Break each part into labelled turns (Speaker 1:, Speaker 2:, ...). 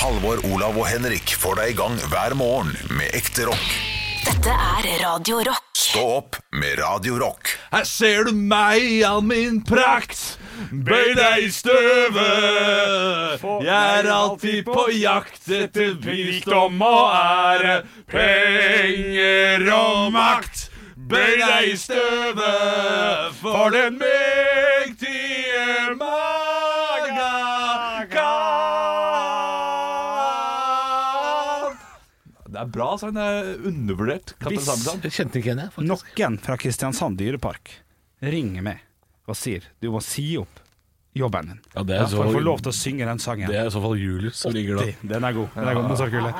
Speaker 1: Halvor, Olav og Henrik får deg i gang hver morgen med ekte rock.
Speaker 2: Dette er Radio Rock.
Speaker 1: Stå opp med Radio Rock.
Speaker 3: Her ser du meg i all min prakt. Bøy deg i støvet. Jeg er alltid på jakt etter rikdom og ære. Penger og makt. Bøy deg i støvet for den mektige Magakan. Det er bra sang. Det er undervurdert. Kaptein
Speaker 4: Hvis-
Speaker 3: Sabeltann.
Speaker 5: Jeg kjente ikke henne, faktisk.
Speaker 4: Noen fra Kristiansand dyrepark ringer meg og sier du må si opp jobben din.
Speaker 5: Ja, det er
Speaker 4: Ja,
Speaker 5: i så
Speaker 4: for å få
Speaker 5: fall-
Speaker 4: lov til å synge den sangen.
Speaker 5: Det er i så fall Julius som ligger da.
Speaker 4: Den er god. Den er god Mozart-gullet.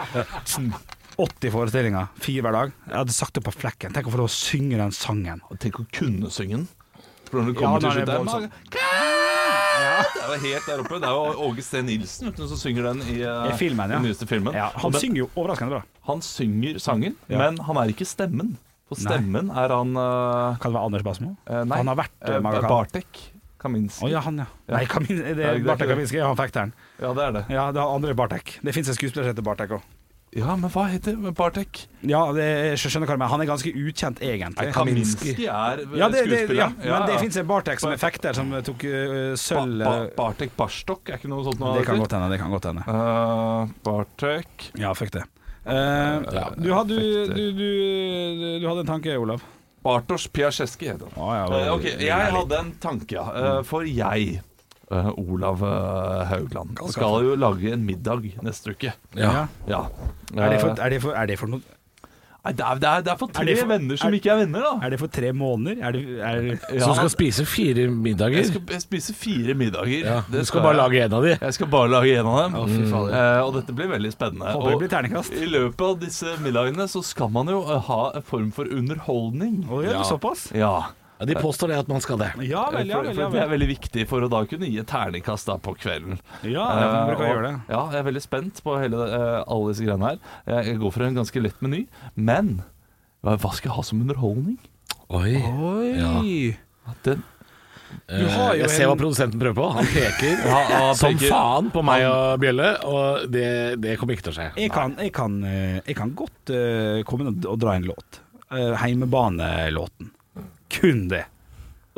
Speaker 4: 80 forestillinger, fire hver dag. Jeg hadde sagt det på flekken. Tenk å få lov å synge den sangen.
Speaker 3: Og Tenk å kunne synge den. For når det
Speaker 4: Ja,
Speaker 3: kommer til
Speaker 4: da er
Speaker 3: slutt
Speaker 4: det
Speaker 3: der
Speaker 4: voldsomt.
Speaker 3: Maga- Det er jo helt der oppe. Det er jo Åge Steen Nilsen vet du, som synger den i, eh,
Speaker 4: I filmen, ja.
Speaker 3: den nyeste filmen.
Speaker 4: Ja,
Speaker 3: Og
Speaker 4: han
Speaker 3: den,
Speaker 4: synger jo overraskende bra.
Speaker 3: han synger sangen,
Speaker 4: Ja.
Speaker 3: men han er ikke stemmen. For
Speaker 4: Nei.
Speaker 3: stemmen er han eh,
Speaker 4: Kan det være Anders Basmo?
Speaker 3: eh, Nei,
Speaker 4: Han har vært
Speaker 3: eh,
Speaker 4: uh, Maga Khan.
Speaker 3: Bartek Kaminski.
Speaker 4: Å ja, han, ja. Nei, Kamin, det
Speaker 3: det er
Speaker 4: er
Speaker 3: ikke
Speaker 4: Bartek
Speaker 3: det.
Speaker 4: Kaminski. Ja, han fikk den.
Speaker 3: Ja, det er det.
Speaker 4: Ja, det er andre Bartek. Det fins en skuespiller som heter Bartek òg.
Speaker 3: Ja, men hva heter Bartek?
Speaker 4: Ja, det, jeg skjønner hva du mener. Han er ganske ukjent, egentlig.
Speaker 3: Nei, Kaminski er eh,
Speaker 4: Ja, det, det, ja,
Speaker 3: skuespilleren.
Speaker 4: men det fins en Bartek som er fekter, som tok øh,
Speaker 3: ba
Speaker 4: sølv
Speaker 3: ba Bartek Barstok, er ikke noe sånt noe?
Speaker 4: Det kan godt hende. det kan godt hende
Speaker 3: Eh, Bartek
Speaker 4: Ja, fuck det. Eh, du, hadde,
Speaker 3: eh.
Speaker 4: du, du, du, du hadde en tanke, Olav.
Speaker 3: Bartosz Piasjeski heter han.
Speaker 4: Å, ja,
Speaker 3: Eh, ok, Jeg hadde en tanke, ja. Eh, for jeg, eh, Olav eh, Haugland, skal jo lage en middag neste uke.
Speaker 4: ja.
Speaker 5: Ja.
Speaker 3: Ja.
Speaker 4: Er, det for,
Speaker 3: Eh,
Speaker 4: er, det for, er, det for noen,
Speaker 3: nei, det, er, det, er, det er for tre
Speaker 4: det for-
Speaker 3: venner som
Speaker 4: er-
Speaker 3: ikke er venner, da.
Speaker 4: er det for tre måneder? Er det, er,
Speaker 5: Som
Speaker 3: Ja,
Speaker 5: skal spise fire middager.
Speaker 3: jeg skal jeg spise fire middager.
Speaker 5: ja. Du
Speaker 3: Det
Speaker 5: skal bare
Speaker 3: jeg.
Speaker 5: lage en av de.
Speaker 3: Jeg skal bare lage en av dem.
Speaker 5: Å, fy fader.
Speaker 3: Eh, og dette blir veldig spennende.
Speaker 4: Mm. Håper det
Speaker 3: Og
Speaker 4: blir terningkast.
Speaker 3: I løpet av disse middagene så skal man jo eh, ha en form for underholdning.
Speaker 4: Å, ja,
Speaker 5: Ja.
Speaker 4: Såpass?
Speaker 3: Ja.
Speaker 5: Ja, de påstår det at man skal det.
Speaker 4: Ja vel, ja
Speaker 3: for,
Speaker 4: vel.
Speaker 3: for
Speaker 4: Ja,
Speaker 3: Det
Speaker 4: vel.
Speaker 3: er veldig viktig for å da kunne gi et terningkast da på kvelden.
Speaker 4: ja jeg
Speaker 3: Eh,
Speaker 4: bruker å
Speaker 3: og-
Speaker 4: gjøre det.
Speaker 3: Ja, jeg er veldig spent på hele, eh, alle disse greiene her. Jeg- Jeg går for en ganske lett meny, men hva hva skal jeg ha som underholdning?
Speaker 5: Oi. Ja.
Speaker 4: Oi!
Speaker 3: At Den,
Speaker 5: Eh,
Speaker 4: har jo
Speaker 5: jeg ser hva
Speaker 4: en-
Speaker 5: produsenten prøver på. Han peker
Speaker 3: Ja, han
Speaker 5: som
Speaker 3: peker.
Speaker 5: faen på meg og Bjølle, og det, det kommer ikke til å skje.
Speaker 4: Jeg kan, jeg kan, eh, jeg kan godt eh, komme inn og dra en låt. Eh, Heimebanelåten. Kun det.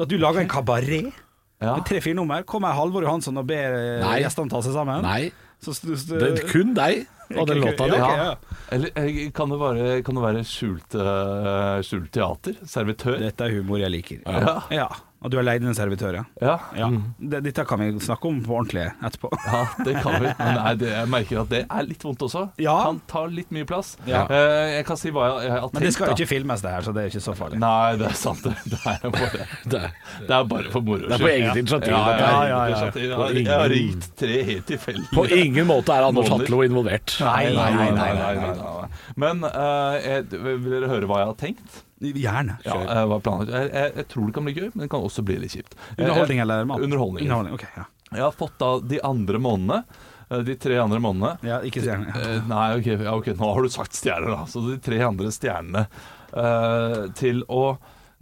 Speaker 4: At du lager en kabaret
Speaker 3: ja.
Speaker 4: med tre-fire nummer. Kommer Halvor Johansson og ber eh,
Speaker 5: Nei.
Speaker 4: gjestene ta seg sammen?
Speaker 5: Nei,
Speaker 4: Så st- st-
Speaker 5: det er kun deg og den
Speaker 4: Ja,
Speaker 5: låta
Speaker 4: ok,
Speaker 5: di.
Speaker 4: ja, ja.
Speaker 3: Eller eh, kan det være, kan det være skjult, eh, skjult teater? Servitør?
Speaker 4: Dette er humor jeg liker.
Speaker 3: Ja.
Speaker 4: Ja, Og du er leid en servitør, ja?
Speaker 3: Ja.
Speaker 4: ja. Det- Dette kan vi snakke om på ordentlig etterpå.
Speaker 3: Ja, det kan vi. Men nei, det, jeg merker at det er litt vondt også.
Speaker 4: Ja.
Speaker 3: Kan ta litt mye plass.
Speaker 4: Ja.
Speaker 3: Eh, jeg kan si hva jeg, jeg har tenkt.
Speaker 4: Men det skal
Speaker 3: da.
Speaker 4: jo ikke filmes, det her, så det er ikke så farlig.
Speaker 3: Nei, det er sant. Det Det er bare,
Speaker 5: Det er,
Speaker 3: det er bare for moro
Speaker 5: det er på eget initiativ.
Speaker 3: Ja,
Speaker 5: dette her.
Speaker 3: ja,
Speaker 4: ja,
Speaker 3: ja,
Speaker 4: ja.
Speaker 3: Jeg har- Jeg har ringt tre helt tilfeldig.
Speaker 5: På ingen måte er Anders
Speaker 3: Måneder.
Speaker 5: Hatlo involvert.
Speaker 3: Nei, nei, nei, nei, nei, nei, nei. Men eh, jeg, vil dere høre hva jeg har tenkt?
Speaker 4: Gjerne.
Speaker 3: Ja, eh, hva er planen? jeg, jeg, jeg tror det kan bli gøy, men det kan også bli litt kjipt. Eh,
Speaker 4: Underholdning eller mat?
Speaker 3: Underholdning.
Speaker 4: Underholdning, ok, ja.
Speaker 3: Jeg har fått da de andre månedene, eh, de tre andre månedene.
Speaker 4: ja ikke så gjerne.
Speaker 3: Eh, nei, ok, ja, ok, nå har du sagt stjerner, da. Så de tre andre stjernene eh, til å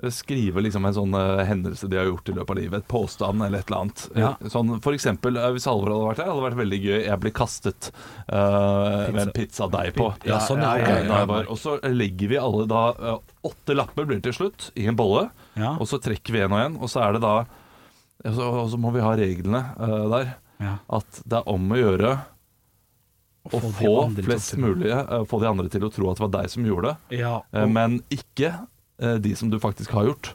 Speaker 3: skrive liksom en sånn eh, hendelse de har gjort i løpet av livet. Et påstand eller et eller annet.
Speaker 4: Ja.
Speaker 3: Sånn, for eksempel, eh, hvis Halvor hadde vært her, hadde det vært veldig gøy. Jeg ble kastet eh, med en pizzadeig på.
Speaker 5: Ja, sånn, ja, ok.
Speaker 3: Ja, da er det bare- Og så legger vi alle da eh, Åtte lapper blir det til slutt i en bolle.
Speaker 4: Ja.
Speaker 3: Og så trekker vi en og en, og så er det da og så, og så må vi ha reglene eh, der.
Speaker 4: Ja.
Speaker 3: At det er om å gjøre å
Speaker 4: få de
Speaker 3: få
Speaker 4: andre til å
Speaker 3: flest
Speaker 4: tro.
Speaker 3: mulig eh, Få de andre til å tro at det var deg som gjorde det,
Speaker 4: Ja,
Speaker 3: eh, men ikke eh, de som du faktisk har gjort.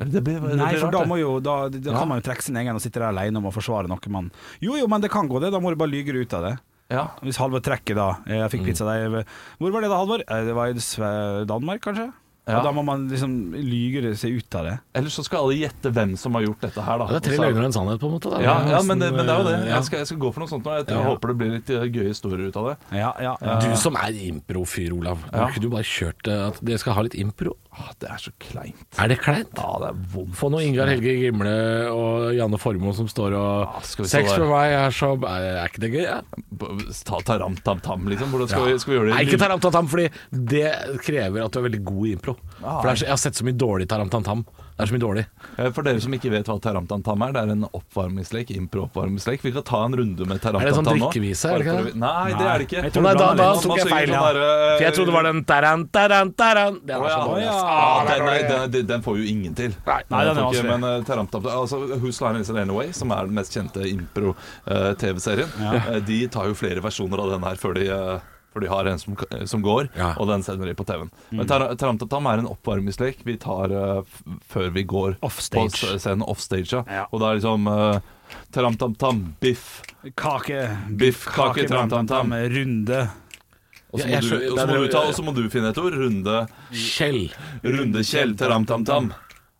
Speaker 3: Eller det blir, det
Speaker 4: Nei,
Speaker 3: blir
Speaker 4: for
Speaker 3: rart,
Speaker 4: da,
Speaker 3: det.
Speaker 4: må jo, da, da
Speaker 3: Ja.
Speaker 4: kan man jo trekke sin egen og sitte der alene om å forsvare noe man Jo jo, men det kan gå det, da må du bare lyge ut av det.
Speaker 3: ja.
Speaker 4: Hvis Halvor trekker da eh, 'Jeg fikk pizza der Hvor var det da, Halvor? Eh, Det var i Sve- Danmark, kanskje?
Speaker 3: Ja.
Speaker 4: Og da må man liksom lyge seg ut av det.
Speaker 3: Eller så skal alle gjette hvem som har gjort dette her, da.
Speaker 5: Det er tre
Speaker 3: Og så-
Speaker 5: løgner og en sannhet, på en måte. da.
Speaker 3: altså. Ja, ja
Speaker 5: nesten,
Speaker 3: men, det, men det er jo det.
Speaker 5: ja.
Speaker 3: Jeg skal, jeg skal gå for noe sånt nå. Jeg, tror-
Speaker 5: Ja.
Speaker 3: jeg håper det blir litt eh, gøye historier ut av det.
Speaker 4: Ja, ja, ja.
Speaker 5: Du som er improfyr, Olav.
Speaker 3: Ja.
Speaker 5: Har ikke du bare kjørt eh, at dere skal ha litt impro?
Speaker 3: Ah, det er så kleint.
Speaker 5: Er det kleint?
Speaker 3: Ja, det er vondt.
Speaker 5: Få noe Ingar Helge Gimle og Janne Formoe som står og
Speaker 3: Ja, skal vi stå
Speaker 5: Sex
Speaker 3: der?
Speaker 5: for meg er så Er er ikke det gøy? Ja?
Speaker 3: Ta taram-tam-tam, liksom. Hvordan skal,
Speaker 5: Ja.
Speaker 3: vi, skal vi gjøre det?
Speaker 5: Nei, ikke
Speaker 3: Ah.
Speaker 5: taram-tam-tam, fordi det krever at du er veldig god i impro. For det er så, jeg har sett så mye dårlig taram-tam-tam. Det er så mye dårlig.
Speaker 3: Eh, For dere som ikke vet hva taramtantam er, det er en oppvarmingslek. Impro-oppvarmingslek. Vi kan ta en runde med taramtantam nå.
Speaker 5: Er det sånn drikkevise, er det
Speaker 3: Bare
Speaker 5: ikke
Speaker 3: for å-
Speaker 5: det?
Speaker 3: Nei, det er det ikke.
Speaker 4: Nei, jeg
Speaker 5: Å
Speaker 4: tror
Speaker 5: nei, da, da
Speaker 3: Man-
Speaker 5: tok
Speaker 3: man
Speaker 5: jeg
Speaker 3: synger
Speaker 5: feil, ja.
Speaker 3: sånn bare,
Speaker 5: For jeg trodde det var den taran, taran, taran. Den
Speaker 3: Å
Speaker 5: er så
Speaker 3: ja.
Speaker 5: dårlig.
Speaker 4: ja.
Speaker 5: ass.
Speaker 3: Ah, den, er, den, er- den får jo ingenting.
Speaker 5: Nei,
Speaker 4: nei, den er
Speaker 3: får ikke-
Speaker 4: vanskelig.
Speaker 3: Men eh, Taramtam altså, Who's Line Is It Anyway, som er den mest kjente eh, impro-TV-serien, eh, de tar jo flere versjoner av den her før de eh, for de har en som, som går,
Speaker 5: Ja.
Speaker 3: og den sender de på TV-en.
Speaker 4: Mm.
Speaker 3: Men Tar- Taramtam er en oppvarmingslek vi tar eh, f før vi går
Speaker 4: Offstage.
Speaker 3: på s- scenen. Offstage, ja.
Speaker 4: Ja.
Speaker 3: Og det er liksom uh, Taramtamtam, biff,
Speaker 4: Eh, Kake,
Speaker 3: biff, kake,
Speaker 4: tam-tam-tam,
Speaker 3: taramtamtam.
Speaker 4: runde.
Speaker 3: Og så
Speaker 5: Jeg- jeg
Speaker 3: må, du-
Speaker 5: skjønner-
Speaker 3: og så
Speaker 5: det
Speaker 3: må
Speaker 5: er-
Speaker 3: du ta, og så må du finne et ord. Runde,
Speaker 5: Skjell.
Speaker 3: runde Kjell, taramtamtam.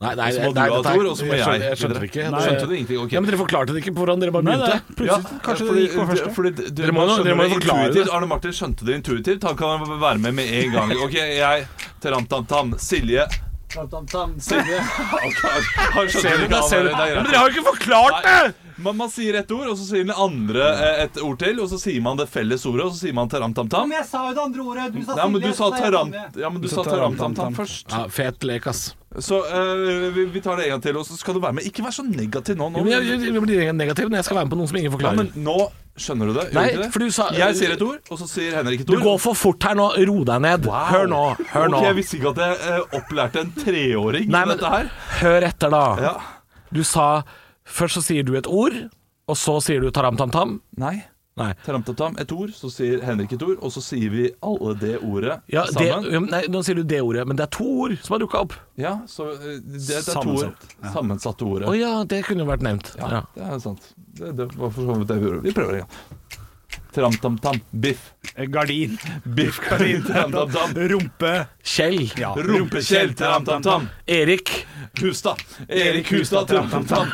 Speaker 5: Nei, nei,
Speaker 3: Så må du
Speaker 5: nei,
Speaker 3: ha
Speaker 5: dette er-
Speaker 3: et ord, og så må jeg.
Speaker 5: skjønner- Jeg skjønte det ikke.
Speaker 3: Nei. Skjønte du egentlig?
Speaker 5: Ja, men Dere forklarte det ikke hvordan dere bare begynte.
Speaker 4: plutselig, kanskje det gikk på første.
Speaker 3: Fordi, du,
Speaker 5: Dere må
Speaker 3: man
Speaker 5: jo-
Speaker 3: skjønner
Speaker 5: dere må jo
Speaker 3: det
Speaker 5: forklare det.
Speaker 3: intuitivt. Arne Martin skjønte det intuitivt. Han kan være med med en gang. Ok, jeg Taramtamtam. Silje. Taramtamtam. Silje. Ok, Han skjønte det ikke. han bare, det er greit.
Speaker 5: dere har jo ikke forklart det!
Speaker 3: Man, man sier ett ord, og så sier den andre eh, et ord til, og så sier man det felles ordet, og så sier man taramtamtam.
Speaker 6: Men jeg sa jo det andre ordet. Du sa
Speaker 3: Nei, men du
Speaker 6: Silje,
Speaker 3: sa
Speaker 6: så jeg kom
Speaker 3: taram...
Speaker 6: med.
Speaker 3: Ja, men du
Speaker 4: sa
Speaker 3: sa taramtamtam
Speaker 4: taramtamtam.
Speaker 3: først.
Speaker 5: Ja, fet lek, ass.
Speaker 3: Så eh, vi, vi tar det en gang til, og så skal du være med. Ikke vær så negativ nå.
Speaker 5: Jo,
Speaker 3: nå.
Speaker 5: men jeg, jeg, jeg blir negativ når jeg skal være med på noe som ingen
Speaker 3: Ja,
Speaker 5: forklarer.
Speaker 3: men nå skjønner du det. Gjør
Speaker 5: Nei,
Speaker 3: ikke det?
Speaker 5: for du sa-
Speaker 3: Jeg sier et ord, og så sier Henrik et
Speaker 5: du
Speaker 3: ord.
Speaker 5: går for fort her nå. Ro deg ned.
Speaker 3: Wow.
Speaker 5: Hør nå. Hør nå.
Speaker 3: Ok, Jeg visste ikke at jeg eh, opplærte en treåring
Speaker 5: Nei,
Speaker 3: i
Speaker 5: men-
Speaker 3: dette her.
Speaker 5: Hør etter, da.
Speaker 3: Ja.
Speaker 5: Du sa Først så sier du et ord, og så sier du taram-tam-tam.
Speaker 3: Nei.
Speaker 5: Nei.
Speaker 3: Taramtamtam, et ord, så sier Henrik et ord, og så sier vi alle det ordet
Speaker 5: Ja, det,
Speaker 3: sammen.
Speaker 5: ja, men nei, nå sier du det ordet, men det er to ord som har dukka opp.
Speaker 3: Ja, så eh, det, det er to
Speaker 4: Sammensatt.
Speaker 3: ord. Sammensatte ordet.
Speaker 5: Å ja, det kunne jo vært nevnt.
Speaker 3: ja,
Speaker 5: Ja.
Speaker 3: Det er sant. Det, det var for så vidt det vi gjorde. Vi prøver igjen. Tramtamtam, biff.
Speaker 4: Eh, Gardin,
Speaker 3: Biff kanin, tramtamtam.
Speaker 4: rumpe,
Speaker 5: Kjell.
Speaker 4: ja.
Speaker 3: Rumpekjell, tramtamtam.
Speaker 5: Erik.
Speaker 3: Hustad. Erik Hustad, tramtamtam.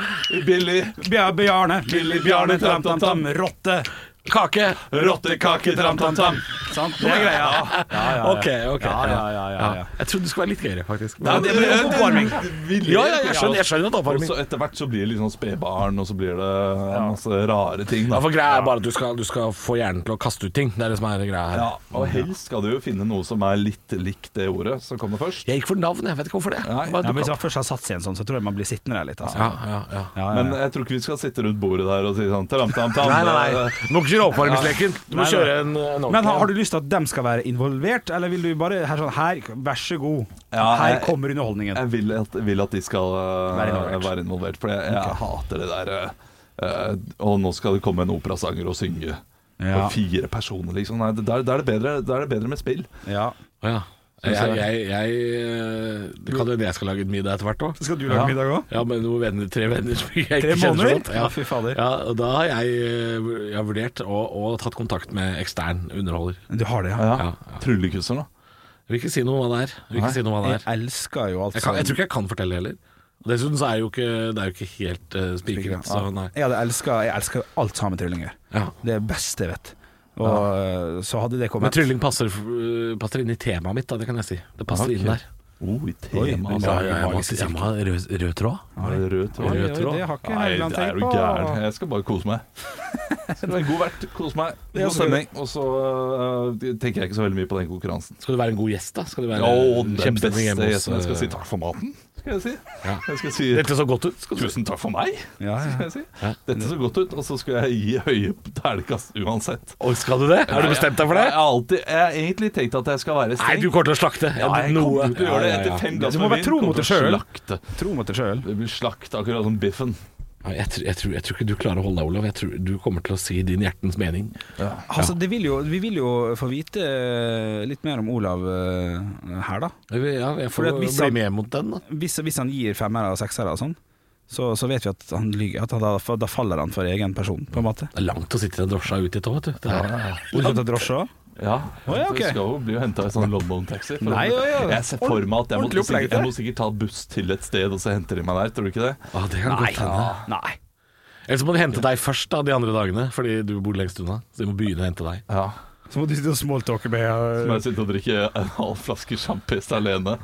Speaker 3: Billy,
Speaker 4: Bjar- Bjarne,
Speaker 3: Billy Bjarne, tramtamtam.
Speaker 4: rotte.
Speaker 5: Kake.
Speaker 3: Rottekake, tramtamtam.
Speaker 4: Sant? Det er greia. Ja, ja, ja.
Speaker 5: Ok, ok.
Speaker 4: Ja, ja, ja, ja, ja.
Speaker 5: Jeg trodde det skulle være litt gøyere, faktisk.
Speaker 3: Nei,
Speaker 4: det blir jo oppvarming.
Speaker 3: Ville-
Speaker 5: Ja, ja, jeg skjønner, jeg skjønner at det er
Speaker 3: Og
Speaker 5: oppvarming.
Speaker 3: så etter hvert så blir det litt sånn spedbarn, og så blir det masse rare ting.
Speaker 5: Ja,
Speaker 3: Da.
Speaker 5: for greia er bare at du skal, du skal få hjernen til å kaste ut ting. Det er det som er greia her.
Speaker 3: Ja, og helst skal du jo finne noe som er litt likt det ordet som kommer først.
Speaker 5: Jeg gikk for navn, jeg vet ikke hvorfor det.
Speaker 3: Nei,
Speaker 4: Ja,
Speaker 5: Bare
Speaker 4: men
Speaker 5: dukket
Speaker 4: hvis
Speaker 5: opp.
Speaker 4: man først har satt seg en sånn, så tror jeg man blir sittende der litt. Altså.
Speaker 5: ja, ja, ja.
Speaker 4: Ja, ja,
Speaker 3: Men
Speaker 4: ja.
Speaker 3: jeg tror ikke vi skal sitte rundt bordet der og si sånn tam, tam, tam.
Speaker 5: Nei, nei, nei. Du må ikke kjøre oppvarmingsleken. Du må
Speaker 4: Nei, nei.
Speaker 5: kjøre en, en
Speaker 4: Men har, har du lyst til at dem skal være involvert, eller vil du bare her, sånn, her Vær så god,
Speaker 3: Ja,
Speaker 4: her
Speaker 3: jeg-
Speaker 4: kommer underholdningen.
Speaker 3: Jeg vil at, vil at de skal eh,
Speaker 4: Være involvert.
Speaker 3: være involvert, for jeg, jeg hater det der eh, eh, Og nå skal det komme en operasanger og synge.
Speaker 4: Ja.
Speaker 3: For fire personer, liksom. Nei, det- da er da er det bedre, da er det bedre med spill.
Speaker 4: Ja.
Speaker 5: Ja. Jeg, jeg, jeg, eh, det kan jo hende jeg skal lage middag etter hvert òg.
Speaker 4: Skal du lage middag òg?
Speaker 5: Ja, med noen venner, tre venner som jeg ikke
Speaker 4: Tre
Speaker 5: kjenner så
Speaker 4: måneder?
Speaker 5: godt. Ja.
Speaker 4: Ja, fy fader.
Speaker 5: Ja, og da har jeg, eh, vur- jeg har vurdert og, og tatt kontakt med ekstern underholder.
Speaker 4: Du har det, ja.
Speaker 3: Ja.
Speaker 5: Ja, ja.
Speaker 3: Tryllekunstner, da.
Speaker 5: Jeg vil ikke si noe om hva det er. Jeg, vil ikke si noe om hva det
Speaker 4: Jeg
Speaker 5: er.
Speaker 4: elsker jo alt
Speaker 5: Jeg, kan, jeg
Speaker 4: som-
Speaker 5: tror ikke jeg kan fortelle heller. Og Dessuten så er jo ikke, det er jo ikke helt uh, spikret, så nei.
Speaker 4: Jeg hadde elska Jeg elsker alt sammen med tryllinger.
Speaker 5: Ja.
Speaker 4: Det er best jeg vet. Og øh, så hadde det
Speaker 5: Men
Speaker 4: kommet
Speaker 5: trylling passer, øh, passer inn i temaet mitt, da, det kan jeg si. Det passer
Speaker 3: Ok.
Speaker 5: inn der.
Speaker 3: Oh, i
Speaker 4: Oi,
Speaker 3: tema,
Speaker 4: det
Speaker 3: altså.
Speaker 4: Ja, ja, ja,
Speaker 5: må- jeg må ha rød, rød tråd.
Speaker 3: Er det rød tråd?
Speaker 4: Oi, oi,
Speaker 5: Rød tråd.
Speaker 4: Det har ikke
Speaker 3: Nei,
Speaker 4: Helgeland
Speaker 3: det er
Speaker 4: tenkt
Speaker 3: jo
Speaker 4: på.
Speaker 3: gæren. Jeg skal bare kose meg. Jeg Skal være en god vert, kose meg,
Speaker 4: er
Speaker 3: god
Speaker 4: så
Speaker 3: stemning. Og så øh, tenker jeg ikke så veldig mye på den konkurransen.
Speaker 5: Skal du være en god gjest, da? Skal du være
Speaker 3: Å, den beste
Speaker 5: kjempestemning hjemme hos
Speaker 3: gjesten. Jeg skal si
Speaker 5: øh,
Speaker 3: takk for maten, skal jeg si.
Speaker 5: Ja.
Speaker 3: Jeg skal si
Speaker 5: Dette så godt ut. Skal du si.
Speaker 3: tusen takk for meg,
Speaker 4: Ja,
Speaker 3: skal
Speaker 4: ja.
Speaker 3: jeg si.
Speaker 5: Ja.
Speaker 3: Dette så godt ut, og så skal jeg gi høye ternekast uansett.
Speaker 5: Å, skal du det? Har du bestemt deg for det?
Speaker 3: Jeg har alltid, jeg har egentlig tenkt at jeg skal være
Speaker 5: Nei,
Speaker 3: streng.
Speaker 5: du kommer til å slakte.
Speaker 3: ja, jeg
Speaker 5: Noe.
Speaker 3: kommer til å gjøre det etter fem glass
Speaker 4: Du må være tro
Speaker 3: kommer
Speaker 4: mot
Speaker 3: til
Speaker 4: deg
Speaker 3: å
Speaker 4: selv.
Speaker 3: slakte.
Speaker 4: Tro mot deg sjøl.
Speaker 3: Det blir slakt, akkurat som biffen.
Speaker 5: Ja, Jeg, tror- jeg, tror, jeg tror ikke du klarer å holde deg, Olav. Jeg tror du kommer til å si din hjertens mening.
Speaker 4: Altså, det vil jo, vi vil jo få vite øh, litt mer om Olav øh, her, da.
Speaker 5: Jeg vil- Ja, jeg får
Speaker 4: Fordi at hvis
Speaker 5: bli
Speaker 4: han-
Speaker 5: med mot den, da.
Speaker 4: Hvis, hvis han gir femmere og seksere og sånn, så, så vet vi at han lyger. At han, da, da faller han for egen person, på en måte.
Speaker 5: Det er langt å sitte i den drosja ut dit òg, vet du. Det er,
Speaker 4: Vil
Speaker 3: sånn-
Speaker 4: du ta drosje òg?
Speaker 3: Ja,
Speaker 4: Å, ja, ok.
Speaker 3: Du skal jo bli henta i sånn London-taxi. for
Speaker 4: Nei,
Speaker 3: å-
Speaker 4: ja, ja.
Speaker 3: Jeg ser for meg at jeg må,
Speaker 4: Ordentlig opplegg,
Speaker 3: sikkert, jeg må sikkert ta buss til et sted, og så henter de meg der. Tror du ikke det?
Speaker 5: Ja, det kan godt hende.
Speaker 4: Nei.
Speaker 5: Eller så må de hente deg først da, de andre dagene, fordi du bor lengst unna. Så de må begynne å hente deg.
Speaker 3: Ja.
Speaker 4: Så må du sitte og smalltalke med
Speaker 3: Så må jeg sitte og drikke en halv flaske sjampis alene.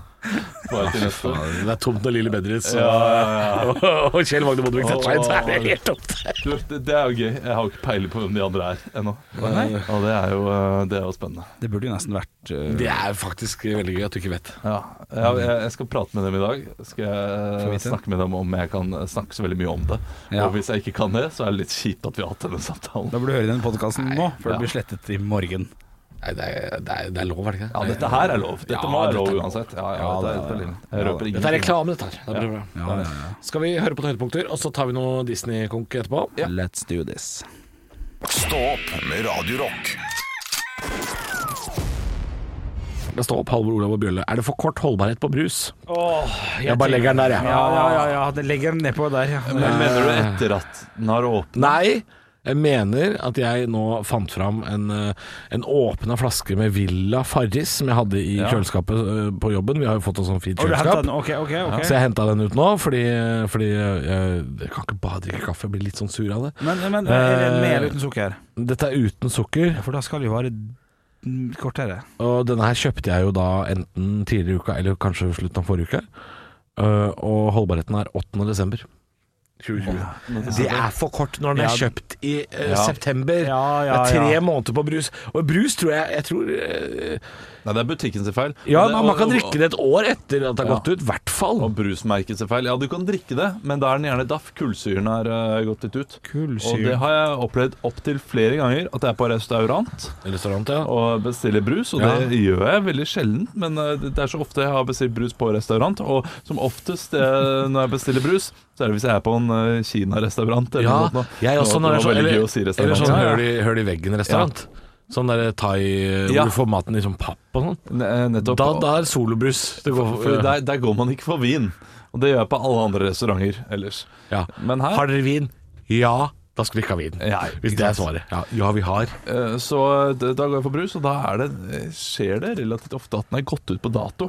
Speaker 3: Bare til neste.
Speaker 5: Det er tomt når Lille Bendriss
Speaker 3: Ja, ja, ja.
Speaker 5: og, og Kjell Magne Bondevik setter seg inn, så er det helt tomt.
Speaker 3: Du, det, det er jo gøy. Jeg har jo ikke peiling på hvem de andre er ennå. Og det er jo, eh, det er jo spennende.
Speaker 4: Det burde jo nesten vært eh,
Speaker 5: Det er faktisk veldig gøy at du ikke vet.
Speaker 3: Ja, jeg, jeg jeg skal prate med dem i dag. Skal
Speaker 4: Mm. Få
Speaker 3: jeg
Speaker 4: vite.
Speaker 3: snakke med dem om jeg kan snakke så veldig mye om det.
Speaker 4: Ja.
Speaker 3: Og hvis jeg ikke kan det, så er det litt kjipt at vi har hatt denne samtalen.
Speaker 4: Da burde du høre denne podkasten nå, før
Speaker 3: ja.
Speaker 4: det blir slettet i morgen.
Speaker 5: Nei, det er, det er, det er lov, er det ikke?
Speaker 3: Ja, dette her er lov. Dette
Speaker 5: Ja,
Speaker 3: må være
Speaker 5: dette
Speaker 3: lov
Speaker 5: er lov.
Speaker 3: uansett. Ja, ja,
Speaker 4: Ja,
Speaker 3: dette er
Speaker 4: det-
Speaker 3: helt alene.
Speaker 4: ja,
Speaker 3: Jeg røper
Speaker 5: Dette er
Speaker 3: ingenting.
Speaker 5: reklame, dette her. Det blir bra.
Speaker 4: Ja, ja, ja.
Speaker 5: Skal vi høre på noen høydepunkter, og så tar vi noe Disney-konk etterpå?
Speaker 4: Let's do this.
Speaker 1: Stå opp med Radio Rock.
Speaker 5: Det står opp Halvor Olav og Bjølle. Er det for kort holdbarhet på brus?
Speaker 4: jeg,
Speaker 5: Jeg bare legger den der, jeg.
Speaker 4: Ja, ja, ja, ja. det legger den nedpå der. ja.
Speaker 3: Men mener du etter at den har åpnet?
Speaker 5: Nei, jeg mener at jeg nå fant fram en, eh, en åpna flaske med Villa Farris som jeg hadde i
Speaker 3: Ja.
Speaker 5: kjøleskapet eh, på jobben. Vi har jo fått oss sånn fint
Speaker 4: Har du hentet
Speaker 5: kjøleskap.
Speaker 4: den? Ok, ok, ok.
Speaker 5: Så jeg henta den ut nå, fordi, fordi jeg, jeg kan ikke bare drikke kaffe. Jeg blir litt sånn sur av det.
Speaker 4: Men, men er det med eller uten sukker?
Speaker 5: Dette er uten sukker,
Speaker 4: Eh, Ja, For da skal det jo være mm, kortere.
Speaker 5: og denne her kjøpte jeg jo da enten tidligere i uka eller kanskje slutten av forrige uke. Eh, og holdbarheten er 8. desember. 2020. Det er for kort når den er
Speaker 4: Ja.
Speaker 5: kjøpt i eh,
Speaker 3: Ja.
Speaker 5: september.
Speaker 4: Ja, ja,
Speaker 5: det er tre
Speaker 4: ja.
Speaker 5: måneder på brus. Og brus tror jeg, jeg tror, eh,
Speaker 3: Nei, det er butikken sin feil.
Speaker 5: Ja,
Speaker 3: Men det-
Speaker 5: man, man kan
Speaker 3: og-
Speaker 5: drikke det et år etter at det har
Speaker 3: Ja.
Speaker 5: gått ut. I hvert fall.
Speaker 3: Og brusmerket sin feil. Ja, du kan drikke det, men da er den gjerne daff. Kullsyren har eh, gått litt ut. Og det har jeg opplevd opptil flere ganger, at jeg er på restaurant
Speaker 5: Restaurant, ja.
Speaker 3: og bestiller brus. Og
Speaker 5: Ja.
Speaker 3: det gjør jeg veldig sjelden, men eh, det er så ofte jeg har bestilt brus på restaurant. Og som oftest eh, når jeg bestiller brus, så er det hvis jeg er på en eh, kinarestaurant eller
Speaker 5: ja
Speaker 3: noe sånt. nå.
Speaker 5: jeg
Speaker 3: Nå-
Speaker 5: også,
Speaker 3: det
Speaker 5: når det er
Speaker 3: var
Speaker 5: sånn,
Speaker 3: veldig
Speaker 5: eller,
Speaker 3: gøy å si
Speaker 5: eller
Speaker 3: restaurant.
Speaker 5: sånn
Speaker 3: Ja, ja.
Speaker 5: høl i, høl i veggen-restaurant. Sånn der thai hvor
Speaker 3: Ja.
Speaker 5: du får maten i sånn papp og sånn.
Speaker 3: Ne- eh, Nettopp.
Speaker 5: Da, da er solobrus. Det går,
Speaker 3: For der, der går man ikke for vin. Og det gjør jeg på alle andre restauranter ellers.
Speaker 5: ja.
Speaker 3: Men her
Speaker 5: Har dere vin? Ja, da skal vi ikke ha vin.
Speaker 3: Ja,
Speaker 5: Hvis
Speaker 3: ikke
Speaker 5: det er
Speaker 3: sant.
Speaker 5: svaret. Ja, ja vi har.
Speaker 3: Eh, Så d- da går jeg for brus, og da er det, eh, skjer det relativt ofte at den er gått ut på dato.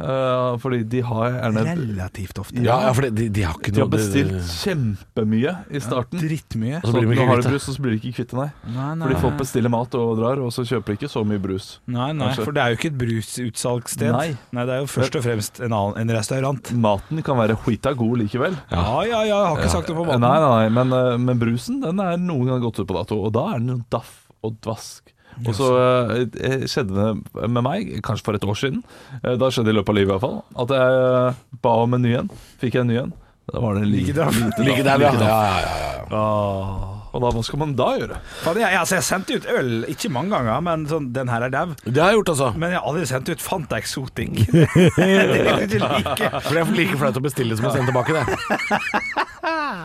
Speaker 3: Eh, fordi de har gjerne
Speaker 4: Relativt ofte.
Speaker 5: Ja, ja for det- de, de har ikke
Speaker 3: De
Speaker 5: noe
Speaker 3: har
Speaker 5: det-
Speaker 3: bestilt kjempemye i starten.
Speaker 4: Drittmye.
Speaker 5: så
Speaker 3: Så
Speaker 5: blir de
Speaker 3: når
Speaker 5: ikke
Speaker 3: du har
Speaker 5: kvitt det.
Speaker 3: brus, og så blir de ikke kvitt det, nei.
Speaker 4: Nei, nei.
Speaker 3: For de folk bestiller mat og drar, og så kjøper de ikke så mye brus.
Speaker 4: nei, nei,
Speaker 3: Kanskje.
Speaker 4: for det er jo ikke et brusutsalgssted.
Speaker 3: Nei.
Speaker 4: det er jo først og fremst en, annen, en restaurant.
Speaker 3: Maten kan være skita god likevel.
Speaker 4: Ja, ja, ja, jeg har ikke sagt det på
Speaker 3: Nei,
Speaker 4: banen.
Speaker 3: nei, nei, men, eh, men brusen den er noen ganger gått ut på dato, og da er den jo daff og dvask. Og så eh, eh, skjedde det med meg, kanskje for et år siden, eh, da skjedde det i løpet av livet i hvert fall, at jeg eh, ba om en ny en, fikk jeg en ny en. Da var det en li-
Speaker 4: Ikke daff.
Speaker 3: lite
Speaker 5: Ligge der, ja. ja, ja, ja.
Speaker 3: Og da, hva skal man da gjøre?
Speaker 4: Faen, Jeg, altså, jeg sendte ut øl, ikke mange ganger, men sånn, den her er dau.
Speaker 5: Det har jeg gjort, altså.
Speaker 4: Men jeg har aldri sendt ut Fanta Exotic. det vil jeg ikke like.
Speaker 5: For det er like flaut å bestille som å sende tilbake det.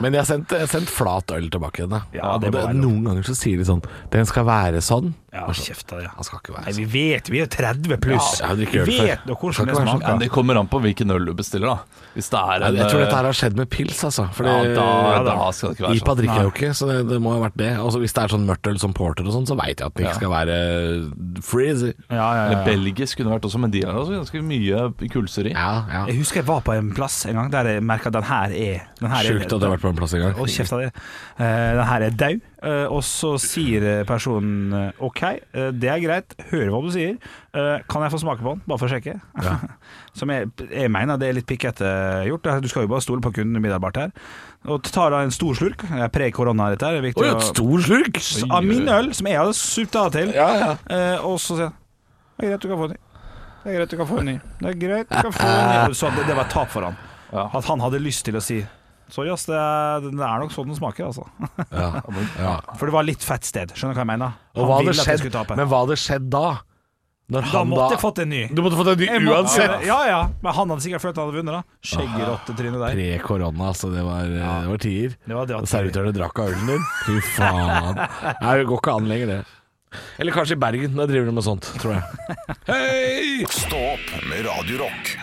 Speaker 5: Men jeg har sendt, jeg har sendt flat øl tilbake til henne.
Speaker 4: Ja, det
Speaker 5: Og
Speaker 4: må være lov.
Speaker 5: noen ganger så sier de sånn Den skal være sånn.
Speaker 4: Ja, kjeft av det.
Speaker 5: Han skal ikke
Speaker 4: Nei,
Speaker 5: være
Speaker 4: vi
Speaker 5: sånn.
Speaker 4: vet, vi er jo 30 pluss.
Speaker 5: Ja, jeg har
Speaker 4: vi
Speaker 5: drikket øl før.
Speaker 4: vet nå
Speaker 5: Skal
Speaker 4: hvordan det
Speaker 5: ikke være sånn.
Speaker 4: smaker.
Speaker 3: Ja, det kommer an på hvilken øl du bestiller, da. Hvis det er en
Speaker 5: Jeg tror dette
Speaker 3: eh,
Speaker 5: her har skjedd med pils, altså. Fordi
Speaker 3: ja, da,
Speaker 4: ja, da.
Speaker 3: da skal det ikke være
Speaker 5: IPA
Speaker 3: sånn.
Speaker 5: drikker jeg jo ikke, så det, det må ha vært det. Altså, hvis det er sånn mørkt øl som porter og sånn, så veit jeg at den ikke skal være eh, freezy.
Speaker 4: Ja, ja,
Speaker 3: Eller
Speaker 4: ja.
Speaker 3: belgisk kunne det vært også, men de har også ganske mye kulser i.
Speaker 5: Ja, ja.
Speaker 4: Jeg husker jeg var på en plass en gang der jeg merka at den her er den her
Speaker 5: Sjukt at det har vært på en plass en gang.
Speaker 4: Og kjeft av det. Eh, den her er dau. Eh, og så sier personen eh, OK, eh, det er greit, hører hva du sier. Eh, kan jeg få smake på den, bare for å sjekke? Som jeg, jeg mener det er litt pikkete gjort. Du skal jo bare stole på kunden umiddelbart her. Og tar da en stor slurk. Det er pre-korona, dette her. Det er viktig
Speaker 5: Oi,
Speaker 4: å-
Speaker 5: et stor slurk!
Speaker 4: av min øl, som jeg hadde sutt av til.
Speaker 5: Ja, ja.
Speaker 4: Eh, og så sier han Det er greit, du kan få en ny. Det er greit, du kan få en ny. Det er greit, du kan få en ny. Og Så det, det var et tap for han.
Speaker 3: Ja.
Speaker 4: At han hadde lyst til å si Sorry, ass, det er, det er nok sånn den smaker, altså.
Speaker 5: ja. ja.
Speaker 4: For det var litt fett sted. Skjønner du hva jeg mener?
Speaker 5: Og hva
Speaker 4: ville at
Speaker 5: hadde
Speaker 4: jeg skulle
Speaker 5: skjedd,
Speaker 4: tape.
Speaker 5: men hva hadde skjedd da? Når
Speaker 4: da
Speaker 5: han
Speaker 4: måtte jeg fått en ny.
Speaker 5: Du måtte fått en
Speaker 4: Jeg
Speaker 5: ny
Speaker 4: måtte-
Speaker 5: uansett.
Speaker 4: Ja, ja. Men han hadde sikkert følt han hadde vunnet, da. Skjeggerottetrynet
Speaker 5: Ah,
Speaker 4: der.
Speaker 5: Pre-korona, altså. Det var, det var tier.
Speaker 4: Det var det
Speaker 5: Og
Speaker 4: at
Speaker 5: servitørene drakk av ølen din. Fy faen. Nei, det går ikke an lenger, det. Eller kanskje i Bergen. Der driver de med sånt, tror jeg.
Speaker 1: Stå opp med Radio Rock.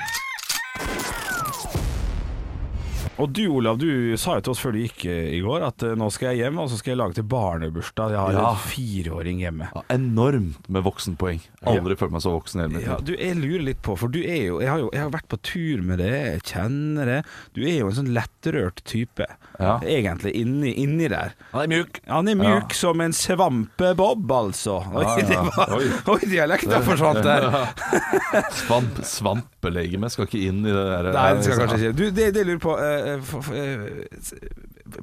Speaker 4: Og du Olav, du sa jo til oss før du gikk eh, i går at eh, nå skal jeg hjem, og så skal jeg lage til barnebursdag. Jeg har
Speaker 3: Ja.
Speaker 4: en fireåring hjemme.
Speaker 3: Ja, enormt med voksenpoeng. Aldri følt meg så voksen i hele mitt
Speaker 4: Ja,
Speaker 3: liv.
Speaker 4: du, jeg lurer litt på, for du er jo Jeg har jo jeg har vært på tur med det, jeg kjenner det. Du er jo en sånn lettrørt type,
Speaker 3: Ja.
Speaker 4: egentlig, inni, inni der.
Speaker 5: Han er mjuk.
Speaker 4: Han er mjuk som en svampebob, altså. Oi,
Speaker 3: Ja, ja.
Speaker 4: det var,
Speaker 3: Oi.
Speaker 4: oi dialekta forsvant der.
Speaker 3: Svamp, svampelegemet skal ikke inn i det der. eh,
Speaker 4: Nei, det skal jeg kanskje ikke. Du, det, det jeg lurer på eh, for, for, eh,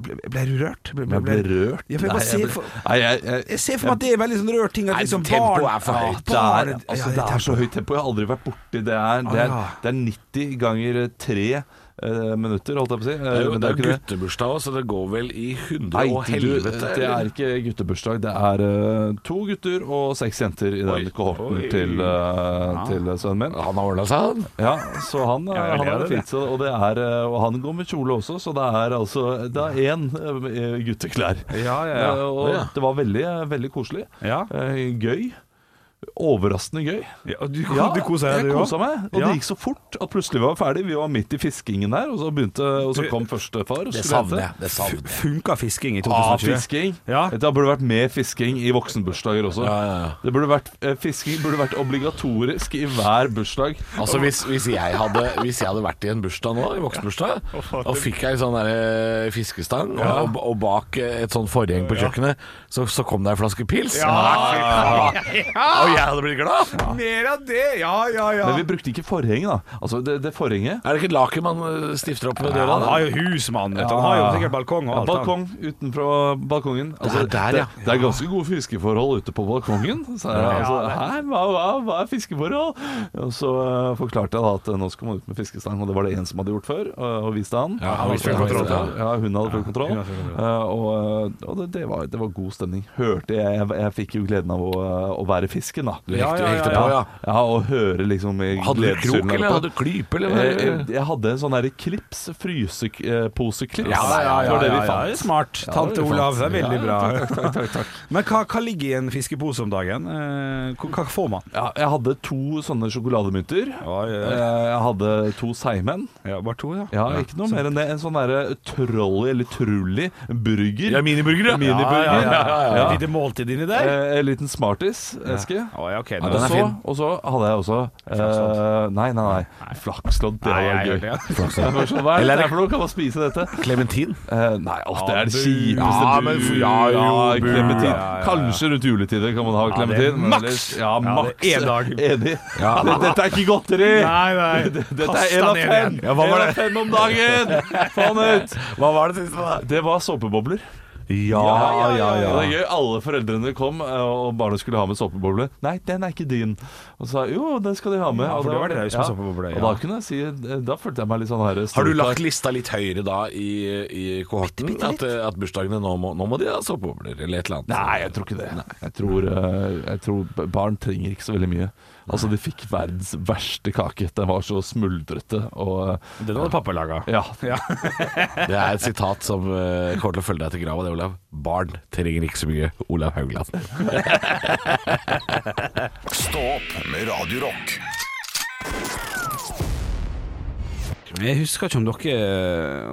Speaker 4: ble, ble du rørt? Ble,
Speaker 3: Men jeg ble rørt.
Speaker 4: Ja, for jeg bare
Speaker 3: jeg
Speaker 4: ser
Speaker 3: ble-
Speaker 4: for-
Speaker 3: Nei, jeg, jeg,
Speaker 4: Eh, Jeg ser for meg at det er veldig sånn rørt ting. At
Speaker 5: Nei,
Speaker 4: liksom
Speaker 5: tempoet
Speaker 4: barn-
Speaker 5: er for
Speaker 4: Ja,
Speaker 5: høyt.
Speaker 3: Det er,
Speaker 4: barn-
Speaker 3: altså,
Speaker 4: ja,
Speaker 3: det er så
Speaker 4: tempoet.
Speaker 3: høyt tempo. Jeg har aldri vært borti det. Er, det, er,
Speaker 4: Ah.
Speaker 3: det er 90 ganger 3 minutter, holdt jeg på å si. Eh,
Speaker 5: Det er jo,
Speaker 3: men
Speaker 5: det er
Speaker 3: ikke det.
Speaker 5: guttebursdag òg, så det går vel i hundre
Speaker 3: Nei,
Speaker 5: og
Speaker 3: du,
Speaker 5: helvete.
Speaker 3: det er ikke guttebursdag. Det er eh, to gutter og seks jenter i den kohorten til, eh, til sønnen min.
Speaker 5: Han har ordna seg, han.
Speaker 3: Ja, så han, eh,
Speaker 4: Ja, jeg
Speaker 3: han er
Speaker 4: ler av det.
Speaker 3: fint. så- Og, det er, eh, og han går med kjole også, så det er altså Det er én eh, gutteklær.
Speaker 4: Ja, ja,
Speaker 3: Eh,
Speaker 4: ja.
Speaker 3: Og
Speaker 5: Ja.
Speaker 3: det var veldig, eh, veldig koselig.
Speaker 4: Ja.
Speaker 3: Eh, Gøy. Overraskende gøy.
Speaker 4: Ja, og du,
Speaker 3: Ja,
Speaker 4: du koser
Speaker 3: jeg
Speaker 4: deg, du
Speaker 3: kosa
Speaker 4: òg?
Speaker 3: meg. Og
Speaker 4: Ja.
Speaker 3: det gikk så fort at plutselig var vi ferdig. Vi var midt i fiskingen der, og så, begynte, og så kom første far. og
Speaker 5: Det
Speaker 3: skulle
Speaker 5: savner
Speaker 3: hente.
Speaker 5: jeg. Det savner jeg.
Speaker 4: Funka fisking i
Speaker 3: Ah,
Speaker 4: 2020?
Speaker 3: fisking.
Speaker 4: Ja.
Speaker 3: Det burde vært mer fisking i voksenbursdager også.
Speaker 5: Ja, ja, ja.
Speaker 3: Det burde vært, eh, fisking burde vært obligatorisk i hver bursdag.
Speaker 5: Altså hvis, hvis, jeg hadde, hvis jeg hadde vært i en bursdag nå, i voksenbursdag, og fikk ei sånn der, eh, fiskestang, og, og bak eh, et sånn forheng på kjøkkenet, så, så kom det ei flaske pils. Og jeg hadde blitt glad.
Speaker 4: Mer av det! Ja, ja, ja.
Speaker 3: Men vi brukte ikke forhenget, da. Altså, det, det forhenget
Speaker 5: Er det ikke et laken man eh, stifter opp ved
Speaker 4: Ja,
Speaker 5: døra?
Speaker 4: han
Speaker 5: da?
Speaker 4: har jo husmann, vet du. Han har jo sikkert balkong og
Speaker 3: Ah. ja,
Speaker 4: alt. han.
Speaker 3: Balkong utenfra balkongen. Altså,
Speaker 5: Det er der, ja.
Speaker 3: det, det er ganske gode fiskeforhold ute på balkongen. Så er det, altså, Hæ, hva, hva, hva er fiskeforhold? Og så eh, forklarte jeg da at eh, nå skal man ut med fiskestang, og det var det en som hadde gjort før, og, og viste han.
Speaker 5: Ja, han viste full
Speaker 3: Og-
Speaker 5: kontroll, ja.
Speaker 3: Ja, hun hadde full kontroll.
Speaker 4: hun hadde full
Speaker 3: Eh, og eh, og det, det, var, det var god stemning. Hørte jeg, jeg, jeg fikk jo gleden av å, eh, å være fisken, da.
Speaker 5: Du hekte,
Speaker 4: Ja, ja, ja,
Speaker 5: hekte på, ja.
Speaker 3: Ja, og høre liksom i
Speaker 5: Hadde Eh, du
Speaker 3: gledessyrene
Speaker 5: krok,
Speaker 3: der
Speaker 5: eller
Speaker 3: oppe.
Speaker 5: hadde du klype, eller?
Speaker 3: Jeg,
Speaker 5: hva-
Speaker 3: jeg, jeg hadde en sånn der klips, fryseposeklips.
Speaker 5: Ja, ja, ja,
Speaker 3: det var det vi
Speaker 4: det er
Speaker 3: fant.
Speaker 4: Smart.
Speaker 3: Ja,
Speaker 4: Tante
Speaker 3: det er sant.
Speaker 4: Olav, det er veldig
Speaker 3: Ja,
Speaker 4: bra. Men hva, hva ligger i en fiskepose om dagen? Eh, hva- Hva får man?
Speaker 3: Ja, jeg hadde to sånne sjokolademynter.
Speaker 4: Oi, oi, oi.
Speaker 3: Eh, Jeg hadde to seigmenn.
Speaker 4: Ja, bare to, ja.
Speaker 3: Ja, ikke noe mer enn det. En sånn derre trolley eller trulli burger.
Speaker 5: Ja, miniburger, ja.
Speaker 3: Miniburger.
Speaker 4: Ja, ja, ja, ja.
Speaker 3: Ja.
Speaker 4: Et lite måltid inni der?
Speaker 3: Eh, En liten Smarties-eske.
Speaker 4: Å, ja, ok,
Speaker 5: Ja,
Speaker 4: nå-
Speaker 3: Og
Speaker 5: den
Speaker 3: så,
Speaker 5: er fin.
Speaker 3: og så hadde jeg også eh,
Speaker 4: Flakslodd.
Speaker 3: Nei, nei, nei. Flakslodd, det var
Speaker 4: Nei, jeg
Speaker 3: gøy.
Speaker 4: hørte det.
Speaker 3: Jeg var sånn, Hva er
Speaker 5: Eller
Speaker 3: det
Speaker 5: er det-
Speaker 3: her for noe? Kan man spise dette?
Speaker 5: Clementin?
Speaker 3: Eh, nei, altså, det er det
Speaker 4: Ja,
Speaker 3: kjipeste
Speaker 5: Ja, men for- ja, jo, bu.
Speaker 3: klementin.
Speaker 4: Ja, ja, ja.
Speaker 3: Kanskje rundt juletider kan man ha
Speaker 4: det er
Speaker 3: klementin. men
Speaker 4: maks.
Speaker 3: ellers- Ja,
Speaker 4: Ja,
Speaker 3: maks.
Speaker 4: det er en dag.
Speaker 3: Enig.
Speaker 5: Ja.
Speaker 3: Men Dette er ikke godteri!
Speaker 4: Nei, nei.
Speaker 3: Dette
Speaker 4: Kast
Speaker 3: er én
Speaker 4: deg
Speaker 3: av
Speaker 4: ned
Speaker 3: fem!
Speaker 4: igjen.
Speaker 5: Ja, hva var
Speaker 3: En av
Speaker 5: det?
Speaker 3: fem om dagen! Faen ut!
Speaker 5: Hva var det siste, da?
Speaker 3: Det var såpebobler.
Speaker 5: Ja, ja,
Speaker 3: Det var
Speaker 5: ja.
Speaker 3: gøy. Alle foreldrene kom, eh, og barnet skulle ha med såpeboble. Nei, den er ikke din. Og så sa jeg, jo, den skal de ha med.
Speaker 4: Ja,
Speaker 3: og
Speaker 4: for
Speaker 3: da
Speaker 4: det var det jeg husker med såpeboble,
Speaker 3: Og
Speaker 4: ja.
Speaker 3: da kunne jeg si Da følte jeg meg litt sånn her
Speaker 5: Har du lagt lista litt høyere da i, i kohorten? At, eh, at bursdagene nå må, nå må de ha såpebobler eller et eller annet?
Speaker 3: Nei, jeg tror ikke det. Jeg tror, eh, jeg tror b- barn trenger ikke så veldig mye. Altså, de fikk verdens verste kake. Den var så smuldrete og eh,
Speaker 4: Den hadde pappa laga.
Speaker 3: Ja.
Speaker 5: Det er et sitat som eh, kommer til å følge deg til grava, det, Olav. Barn trenger ikke så mye. Olav Haugland.
Speaker 1: Stå opp med Radio Rock.
Speaker 4: Jeg husker ikke om dere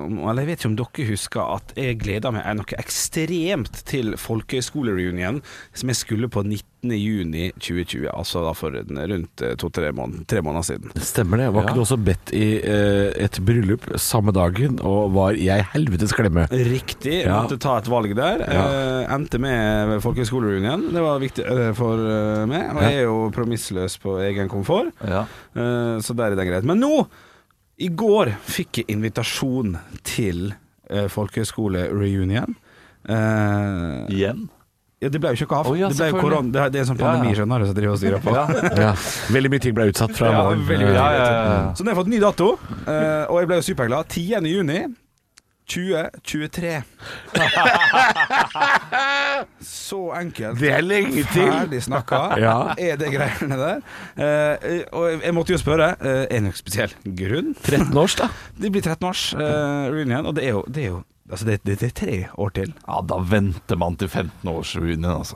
Speaker 4: om- Eller jeg vet ikke om dere husker at jeg gleda meg noe ekstremt til folkehøyskolereunion som jeg skulle på 19. juni 2020, altså da for en- rundt eh, to-tre måneder, tre måneder siden.
Speaker 5: Stemmer det. Var ikke du også bedt i eh, et bryllup samme dagen, og var i ei helvetes klemme?
Speaker 4: Riktig.
Speaker 5: Ja.
Speaker 4: Måtte ta et valg der. Eh, endte med folkehøyskolereunion. Det var viktig eh, for eh, meg. Og jeg er jo promissløs på egen komfort,
Speaker 3: ja.
Speaker 4: eh, så der er det greit. Men nå, i går, fikk jeg invitasjon til eh, folkehøyskolereunion. Eh,
Speaker 3: Igjen?
Speaker 4: ja, det ble jo ikke noe av.
Speaker 3: Å, ja,
Speaker 4: det, ble jo
Speaker 3: selvfølgelig.
Speaker 4: koron- det, er- det er en sånn
Speaker 3: Ja, ja.
Speaker 4: pandemi, skjønner du, som driver og styrer på.
Speaker 5: Ja. Veldig mye ting ble utsatt fra
Speaker 4: Ja,
Speaker 5: våren.
Speaker 4: veldig mye.
Speaker 5: Eh,
Speaker 3: Ja, ja, ja.
Speaker 4: Så nå har jeg fått ny dato, eh, og jeg ble jo superglad. 10. juni 2023. Så enkelt.
Speaker 5: Det er lenge til!
Speaker 4: Ferdig snakka.
Speaker 5: Ja.
Speaker 4: Er det greiene der? Eh, og jeg- jeg måtte jo spørre. eh, er det noen spesiell grunn?
Speaker 5: 13 års, da.
Speaker 4: Det blir 13 års eh, reunion, og det er jo, det er jo Altså det, det, det er tre år til.
Speaker 3: ja, da venter man til 15-årsruinen, altså.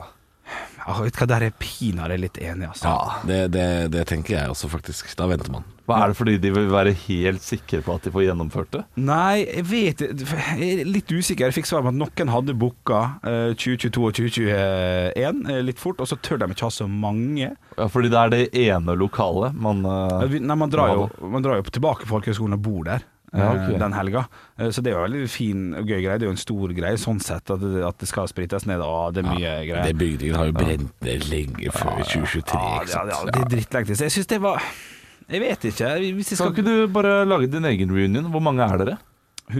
Speaker 4: Ah, Jeg vet hva, Der er jeg pinadø litt enig, altså.
Speaker 5: Ja, det, det, det tenker jeg også, faktisk. Da venter man.
Speaker 3: Hva Hva er det fordi de vil være helt sikre på at de får gjennomført det?
Speaker 4: Nei, jeg vet Jeg er litt usikker. Jeg fikk svar om at noen hadde booka eh, 2022 og 2021 eh, litt fort, og så tør de ikke ha så mange.
Speaker 3: Ja, fordi det er det ene lokalet man eh,
Speaker 4: Vi- Nei, man drar jo, man drar jo tilbake på folkehøgskolen og bor der.
Speaker 3: Ja,
Speaker 4: eh,
Speaker 3: ok.
Speaker 4: Den helga. Eh, Så det er jo veldig fin og gøy greie. Det er jo en stor greie sånn sett, at det, at det skal sprites ned. Og det er mye greier.
Speaker 5: Det bygningen har jo brent ned lenge før 2023.
Speaker 4: ja,
Speaker 5: ikke
Speaker 4: ja,
Speaker 5: sant?
Speaker 4: ja, det er drittlenge til. Så jeg syns det var Jeg vet ikke. Hvis jeg
Speaker 3: Skal
Speaker 4: skal
Speaker 3: ikke du bare lage din egen reunion? Hvor mange er dere?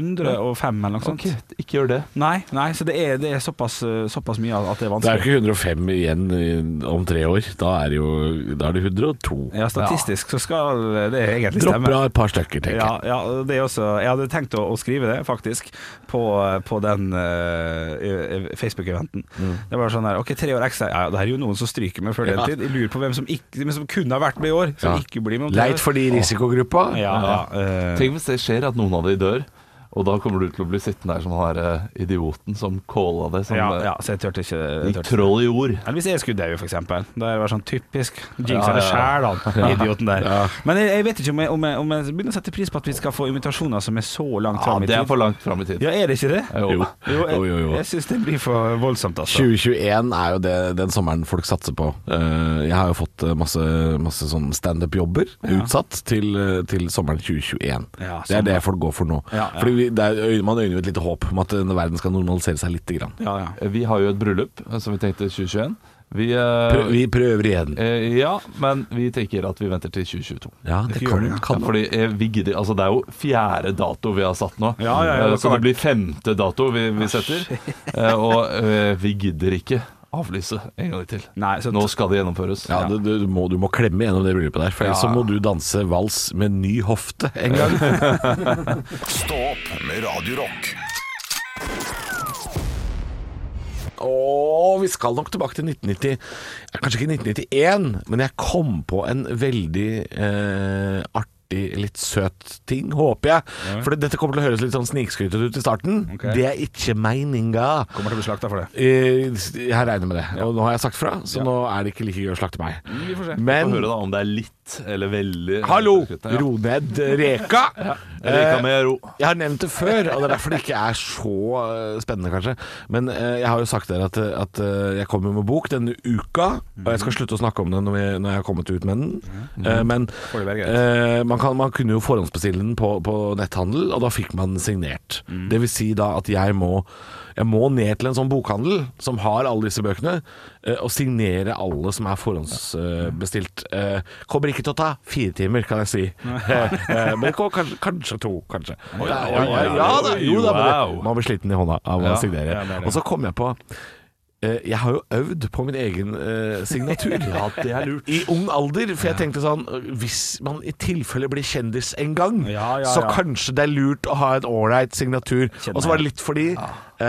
Speaker 4: 105 eller noe sånt.
Speaker 3: Ok, ikke gjør det.
Speaker 4: Nei, nei, så det er, det er såpass, eh, såpass mye at det er
Speaker 5: Det er
Speaker 4: vanskelig.
Speaker 5: jo ikke 105 igjen i- om tre år. Da er det jo da er det 102.
Speaker 4: Ja, statistisk så skal det egentlig
Speaker 5: Dropp
Speaker 4: stemme.
Speaker 5: bra et par stykker, tenker jeg.
Speaker 4: Ja, ja, det er også, jeg hadde tenkt å, å skrive det, faktisk, på, på den eh, eh, Facebook-eventen. Det var sånn der Ok, tre år ekstra. Ja, ja, det her er jo noen som stryker med før den
Speaker 5: Mm. Ja.
Speaker 4: tid. Jeg lurer på hvem som, ikke, men som kunne ha vært med i år, som
Speaker 5: Ja.
Speaker 4: ikke blir med om tre
Speaker 5: Leit
Speaker 4: år.
Speaker 5: for de i risikogruppa.
Speaker 4: Ja, ja, eh,
Speaker 3: Tenk hvis det skjer at noen av de dør, og da kommer du til å bli sittende der som han der eh, idioten som calla det som
Speaker 4: ja,
Speaker 5: sånn,
Speaker 3: eh,
Speaker 4: ja, så jeg turte ikke. jeg
Speaker 3: gikk
Speaker 4: turte ikke.
Speaker 3: troll i jord.
Speaker 4: Eller hvis jeg skulle daue, f.eks. Da er det bare sånn typisk.
Speaker 3: Ja,
Speaker 4: Jinx
Speaker 3: ja,
Speaker 4: er det sjæl,
Speaker 3: ja.
Speaker 4: han idioten der. Men jeg, jeg vet ikke om jeg, om, jeg, om jeg begynner å sette pris på at vi skal få invitasjoner som er så langt
Speaker 3: Ja,
Speaker 4: fram i
Speaker 3: det er
Speaker 4: tid.
Speaker 3: for langt fram i tid. Eh,
Speaker 4: Ja, er det ikke det?
Speaker 5: Jo.
Speaker 4: Jo, jeg,
Speaker 5: Jo, jo, jo.
Speaker 4: jeg syns det blir for voldsomt, altså.
Speaker 5: 2021 er jo det, den sommeren folk satser på. Eh, jeg har jo fått eh, masse, masse sånn standup-jobber utsatt til, eh, til sommeren 2021.
Speaker 4: Ja,
Speaker 5: det er
Speaker 4: sånn,
Speaker 5: det
Speaker 4: ja.
Speaker 5: folk går for nå.
Speaker 4: Ja, ja.
Speaker 5: Fordi vi, det er, øy- Man øyner jo et lite håp om at denne verden skal normalisere seg lite grann.
Speaker 4: Ja, ja.
Speaker 3: eh, Vi har jo et bryllup eh, som vi tenkte 2021. Vi, eh,
Speaker 5: Prø- vi prøver igjen.
Speaker 3: eh, ja, men vi tenker at vi venter til 2022.
Speaker 5: Ja, det
Speaker 4: gjør
Speaker 5: kan,
Speaker 4: det, ja.
Speaker 5: kan
Speaker 3: Ja, fordi eh, vi gidder, altså Det er jo fjerde dato vi har satt nå,
Speaker 4: Ja, ja, ja,
Speaker 3: Eh,
Speaker 4: det
Speaker 3: så
Speaker 4: kan
Speaker 3: det blir femte dato vi,
Speaker 5: Ah,
Speaker 3: vi setter. Eh, og eh, vi gidder ikke avlyse en gang til.
Speaker 4: Nei, så
Speaker 3: Nå skal det gjennomføres.
Speaker 5: ja, du, du, må, du må klemme gjennom det bryllupet der, for ellers
Speaker 3: Ja.
Speaker 5: så må du danse vals med ny hofte en gang.
Speaker 1: Stå opp med Radio Rock.
Speaker 5: Og vi skal nok tilbake til 1990. Ja, Kanskje ikke 1991, men jeg kom på en veldig eh, artig, litt søt ting, håper jeg. For dette kommer til å høres litt sånn snikskrytet ut i starten.
Speaker 4: Ok.
Speaker 5: Det er ikke meininga.
Speaker 4: Kommer til å bli slakta for det.
Speaker 5: Eh, Jeg regner med det. Og nå har jeg sagt fra, så nå er det ikke like gøy å slakte meg.
Speaker 4: Mm, Vi får se.
Speaker 3: Få
Speaker 5: Men
Speaker 3: høre da om det er litt eller veldig
Speaker 5: hallo! Eh,
Speaker 3: Ja.
Speaker 5: Ro ned reka.
Speaker 3: Reka med ro.
Speaker 5: Jeg har nevnt det før, og det er derfor det ikke er så eh, spennende, kanskje. Men eh, jeg har jo sagt dere at, at eh, jeg kommer med bok denne uka, og jeg
Speaker 4: Mhm.
Speaker 5: skal slutte å snakke om den når jeg, når jeg har kommet ut med den. Eh, men
Speaker 4: Får det være greit.
Speaker 5: eh, man, kan, man kunne jo forhåndsbestille den på, på netthandel, og da fikk man den signert.
Speaker 3: Mm.
Speaker 5: Det vil si da at jeg må, jeg må ned til en sånn bokhandel som har alle disse bøkene, eh, og signere alle som er forhåndsbestilt. Eh, kommer ikke til å ta fire timer, kan jeg si. Eh, Men det kommer kanskje, kanskje to, kanskje.
Speaker 3: Oi,
Speaker 5: ja,
Speaker 3: oi,
Speaker 5: ja,
Speaker 3: oi,
Speaker 5: ja, da,
Speaker 3: oi,
Speaker 5: jo da, men det-
Speaker 3: wow.
Speaker 5: man blir sliten i hånda av å
Speaker 3: Ja,
Speaker 5: signere.
Speaker 4: ja, det er det.
Speaker 5: Og så kom jeg på eh, jeg har jo øvd på min egen eh, signatur.
Speaker 3: Ja, det er lurt.
Speaker 5: I ung alder, for jeg tenkte sånn Hvis man i tilfelle blir kjendis en gang,
Speaker 4: Ja, ja,
Speaker 5: så
Speaker 4: ja.
Speaker 5: kanskje det er lurt å ha en ålreit signatur.
Speaker 4: Kjenner
Speaker 5: Og så var det litt fordi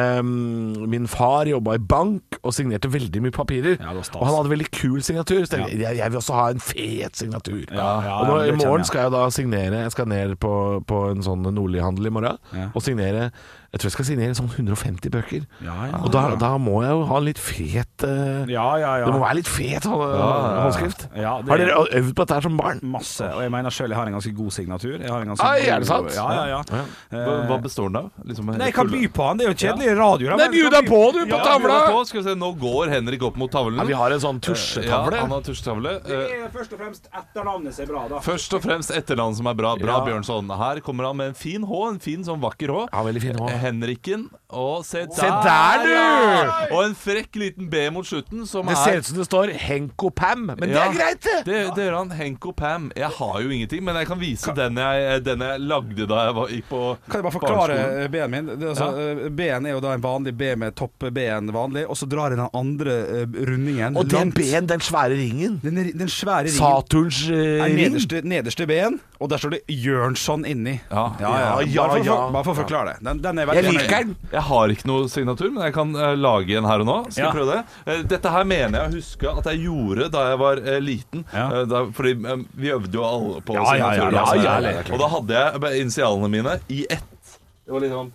Speaker 5: ehm, min far jobba i bank og signerte veldig mye papirer.
Speaker 4: Ja, det var stas.
Speaker 5: og han hadde veldig kul signatur. Så tenkte jeg, jeg, jeg vil også ha en fet signatur.
Speaker 4: Ja, ja,
Speaker 5: og
Speaker 4: ja, det
Speaker 5: nå, i
Speaker 4: kjenner jeg.
Speaker 5: morgen skal jeg da signere Jeg skal ned på, på en sånn Nordli-handel i morgen
Speaker 4: Ja.
Speaker 5: og signere Jeg tror jeg skal signere sånn 150 bøker.
Speaker 4: Ja, ja.
Speaker 5: og da, da må jeg jo ha en litt fet eh,
Speaker 4: Ja, ja, ja.
Speaker 5: det må være litt fet hå- håndskrift.
Speaker 4: Ja, det-
Speaker 5: Har dere øvd på dette her som barn?
Speaker 4: Masse. Og jeg mener sjøl jeg har en ganske god signatur. Jeg har en ganske
Speaker 5: Ai,
Speaker 4: god-
Speaker 5: er det sant?
Speaker 4: Ja, ja, ja.
Speaker 3: Hva,
Speaker 5: eh,
Speaker 3: hva består den av? Liksom,
Speaker 4: Nei, jeg kan by på han. Det er jo kjedelig radio. da,
Speaker 5: Nei,
Speaker 4: men-
Speaker 5: bjud deg på, du,
Speaker 3: Ja,
Speaker 5: på
Speaker 3: bjuda
Speaker 5: tavla!
Speaker 3: på. Skal vi se, nå går Henrik opp mot tavlen.
Speaker 5: Ja, vi har en sånn
Speaker 3: Ja, han
Speaker 5: tusjetavle.
Speaker 3: har tusjetavle. Eh,
Speaker 4: er først og fremst etternavnet som er bra, da.
Speaker 3: Først og fremst etternavn som er bra. Bra,
Speaker 4: Ja.
Speaker 3: Bjørnson. Her kommer han med en fin H, en fin sånn vakker H. Eh,
Speaker 5: Ja, veldig fin H.
Speaker 3: Henriken. Og se der,
Speaker 5: Se der,
Speaker 3: ja!
Speaker 5: du!
Speaker 3: Og en frekk liten B mot slutten, som
Speaker 5: Det
Speaker 3: er
Speaker 5: ser ut som det står Henko Pam, men det
Speaker 3: Ja.
Speaker 5: er greit, det!
Speaker 3: det, det gjør han. Henko Pam. Jeg har jo ingenting, men jeg kan vise den jeg, den jeg lagde da jeg var, gikk på
Speaker 4: Kan jeg bare forklare
Speaker 3: barneskolen.
Speaker 4: eh, B-en min? Det, er altså, eh, B-en er jo da en vanlig B med topp B-en vanlig, og så drar jeg den andre eh, rundingen
Speaker 5: Og den
Speaker 4: langt.
Speaker 5: ben, den svære ringen.
Speaker 4: Den, er- den svære ringen
Speaker 5: Saturns eh,
Speaker 4: er
Speaker 5: ring.
Speaker 4: nederste, nederste B-en, og der står det Jørnsson inni.
Speaker 3: Ja.
Speaker 5: Ja,
Speaker 4: Bare for,
Speaker 5: ja, ja.
Speaker 4: bare for å forklare det. Den, den er
Speaker 5: Jeg
Speaker 4: veldig
Speaker 5: liker den.
Speaker 3: Jeg har ikke noe signatur, men jeg kan eh, lage en her og nå. Skal
Speaker 4: Ja.
Speaker 3: jeg prøve det? Eh, dette her mener jeg å huske at jeg gjorde da jeg var eh, liten.
Speaker 4: Ja.
Speaker 3: Eh, da, fordi eh, vi øvde jo alle på
Speaker 4: Ja, ja, ja,
Speaker 3: signaturer.
Speaker 4: ja,
Speaker 3: og sånn.
Speaker 4: ja, ja, ja,
Speaker 3: og da hadde jeg bare initialene mine i ett. Det var litt sånn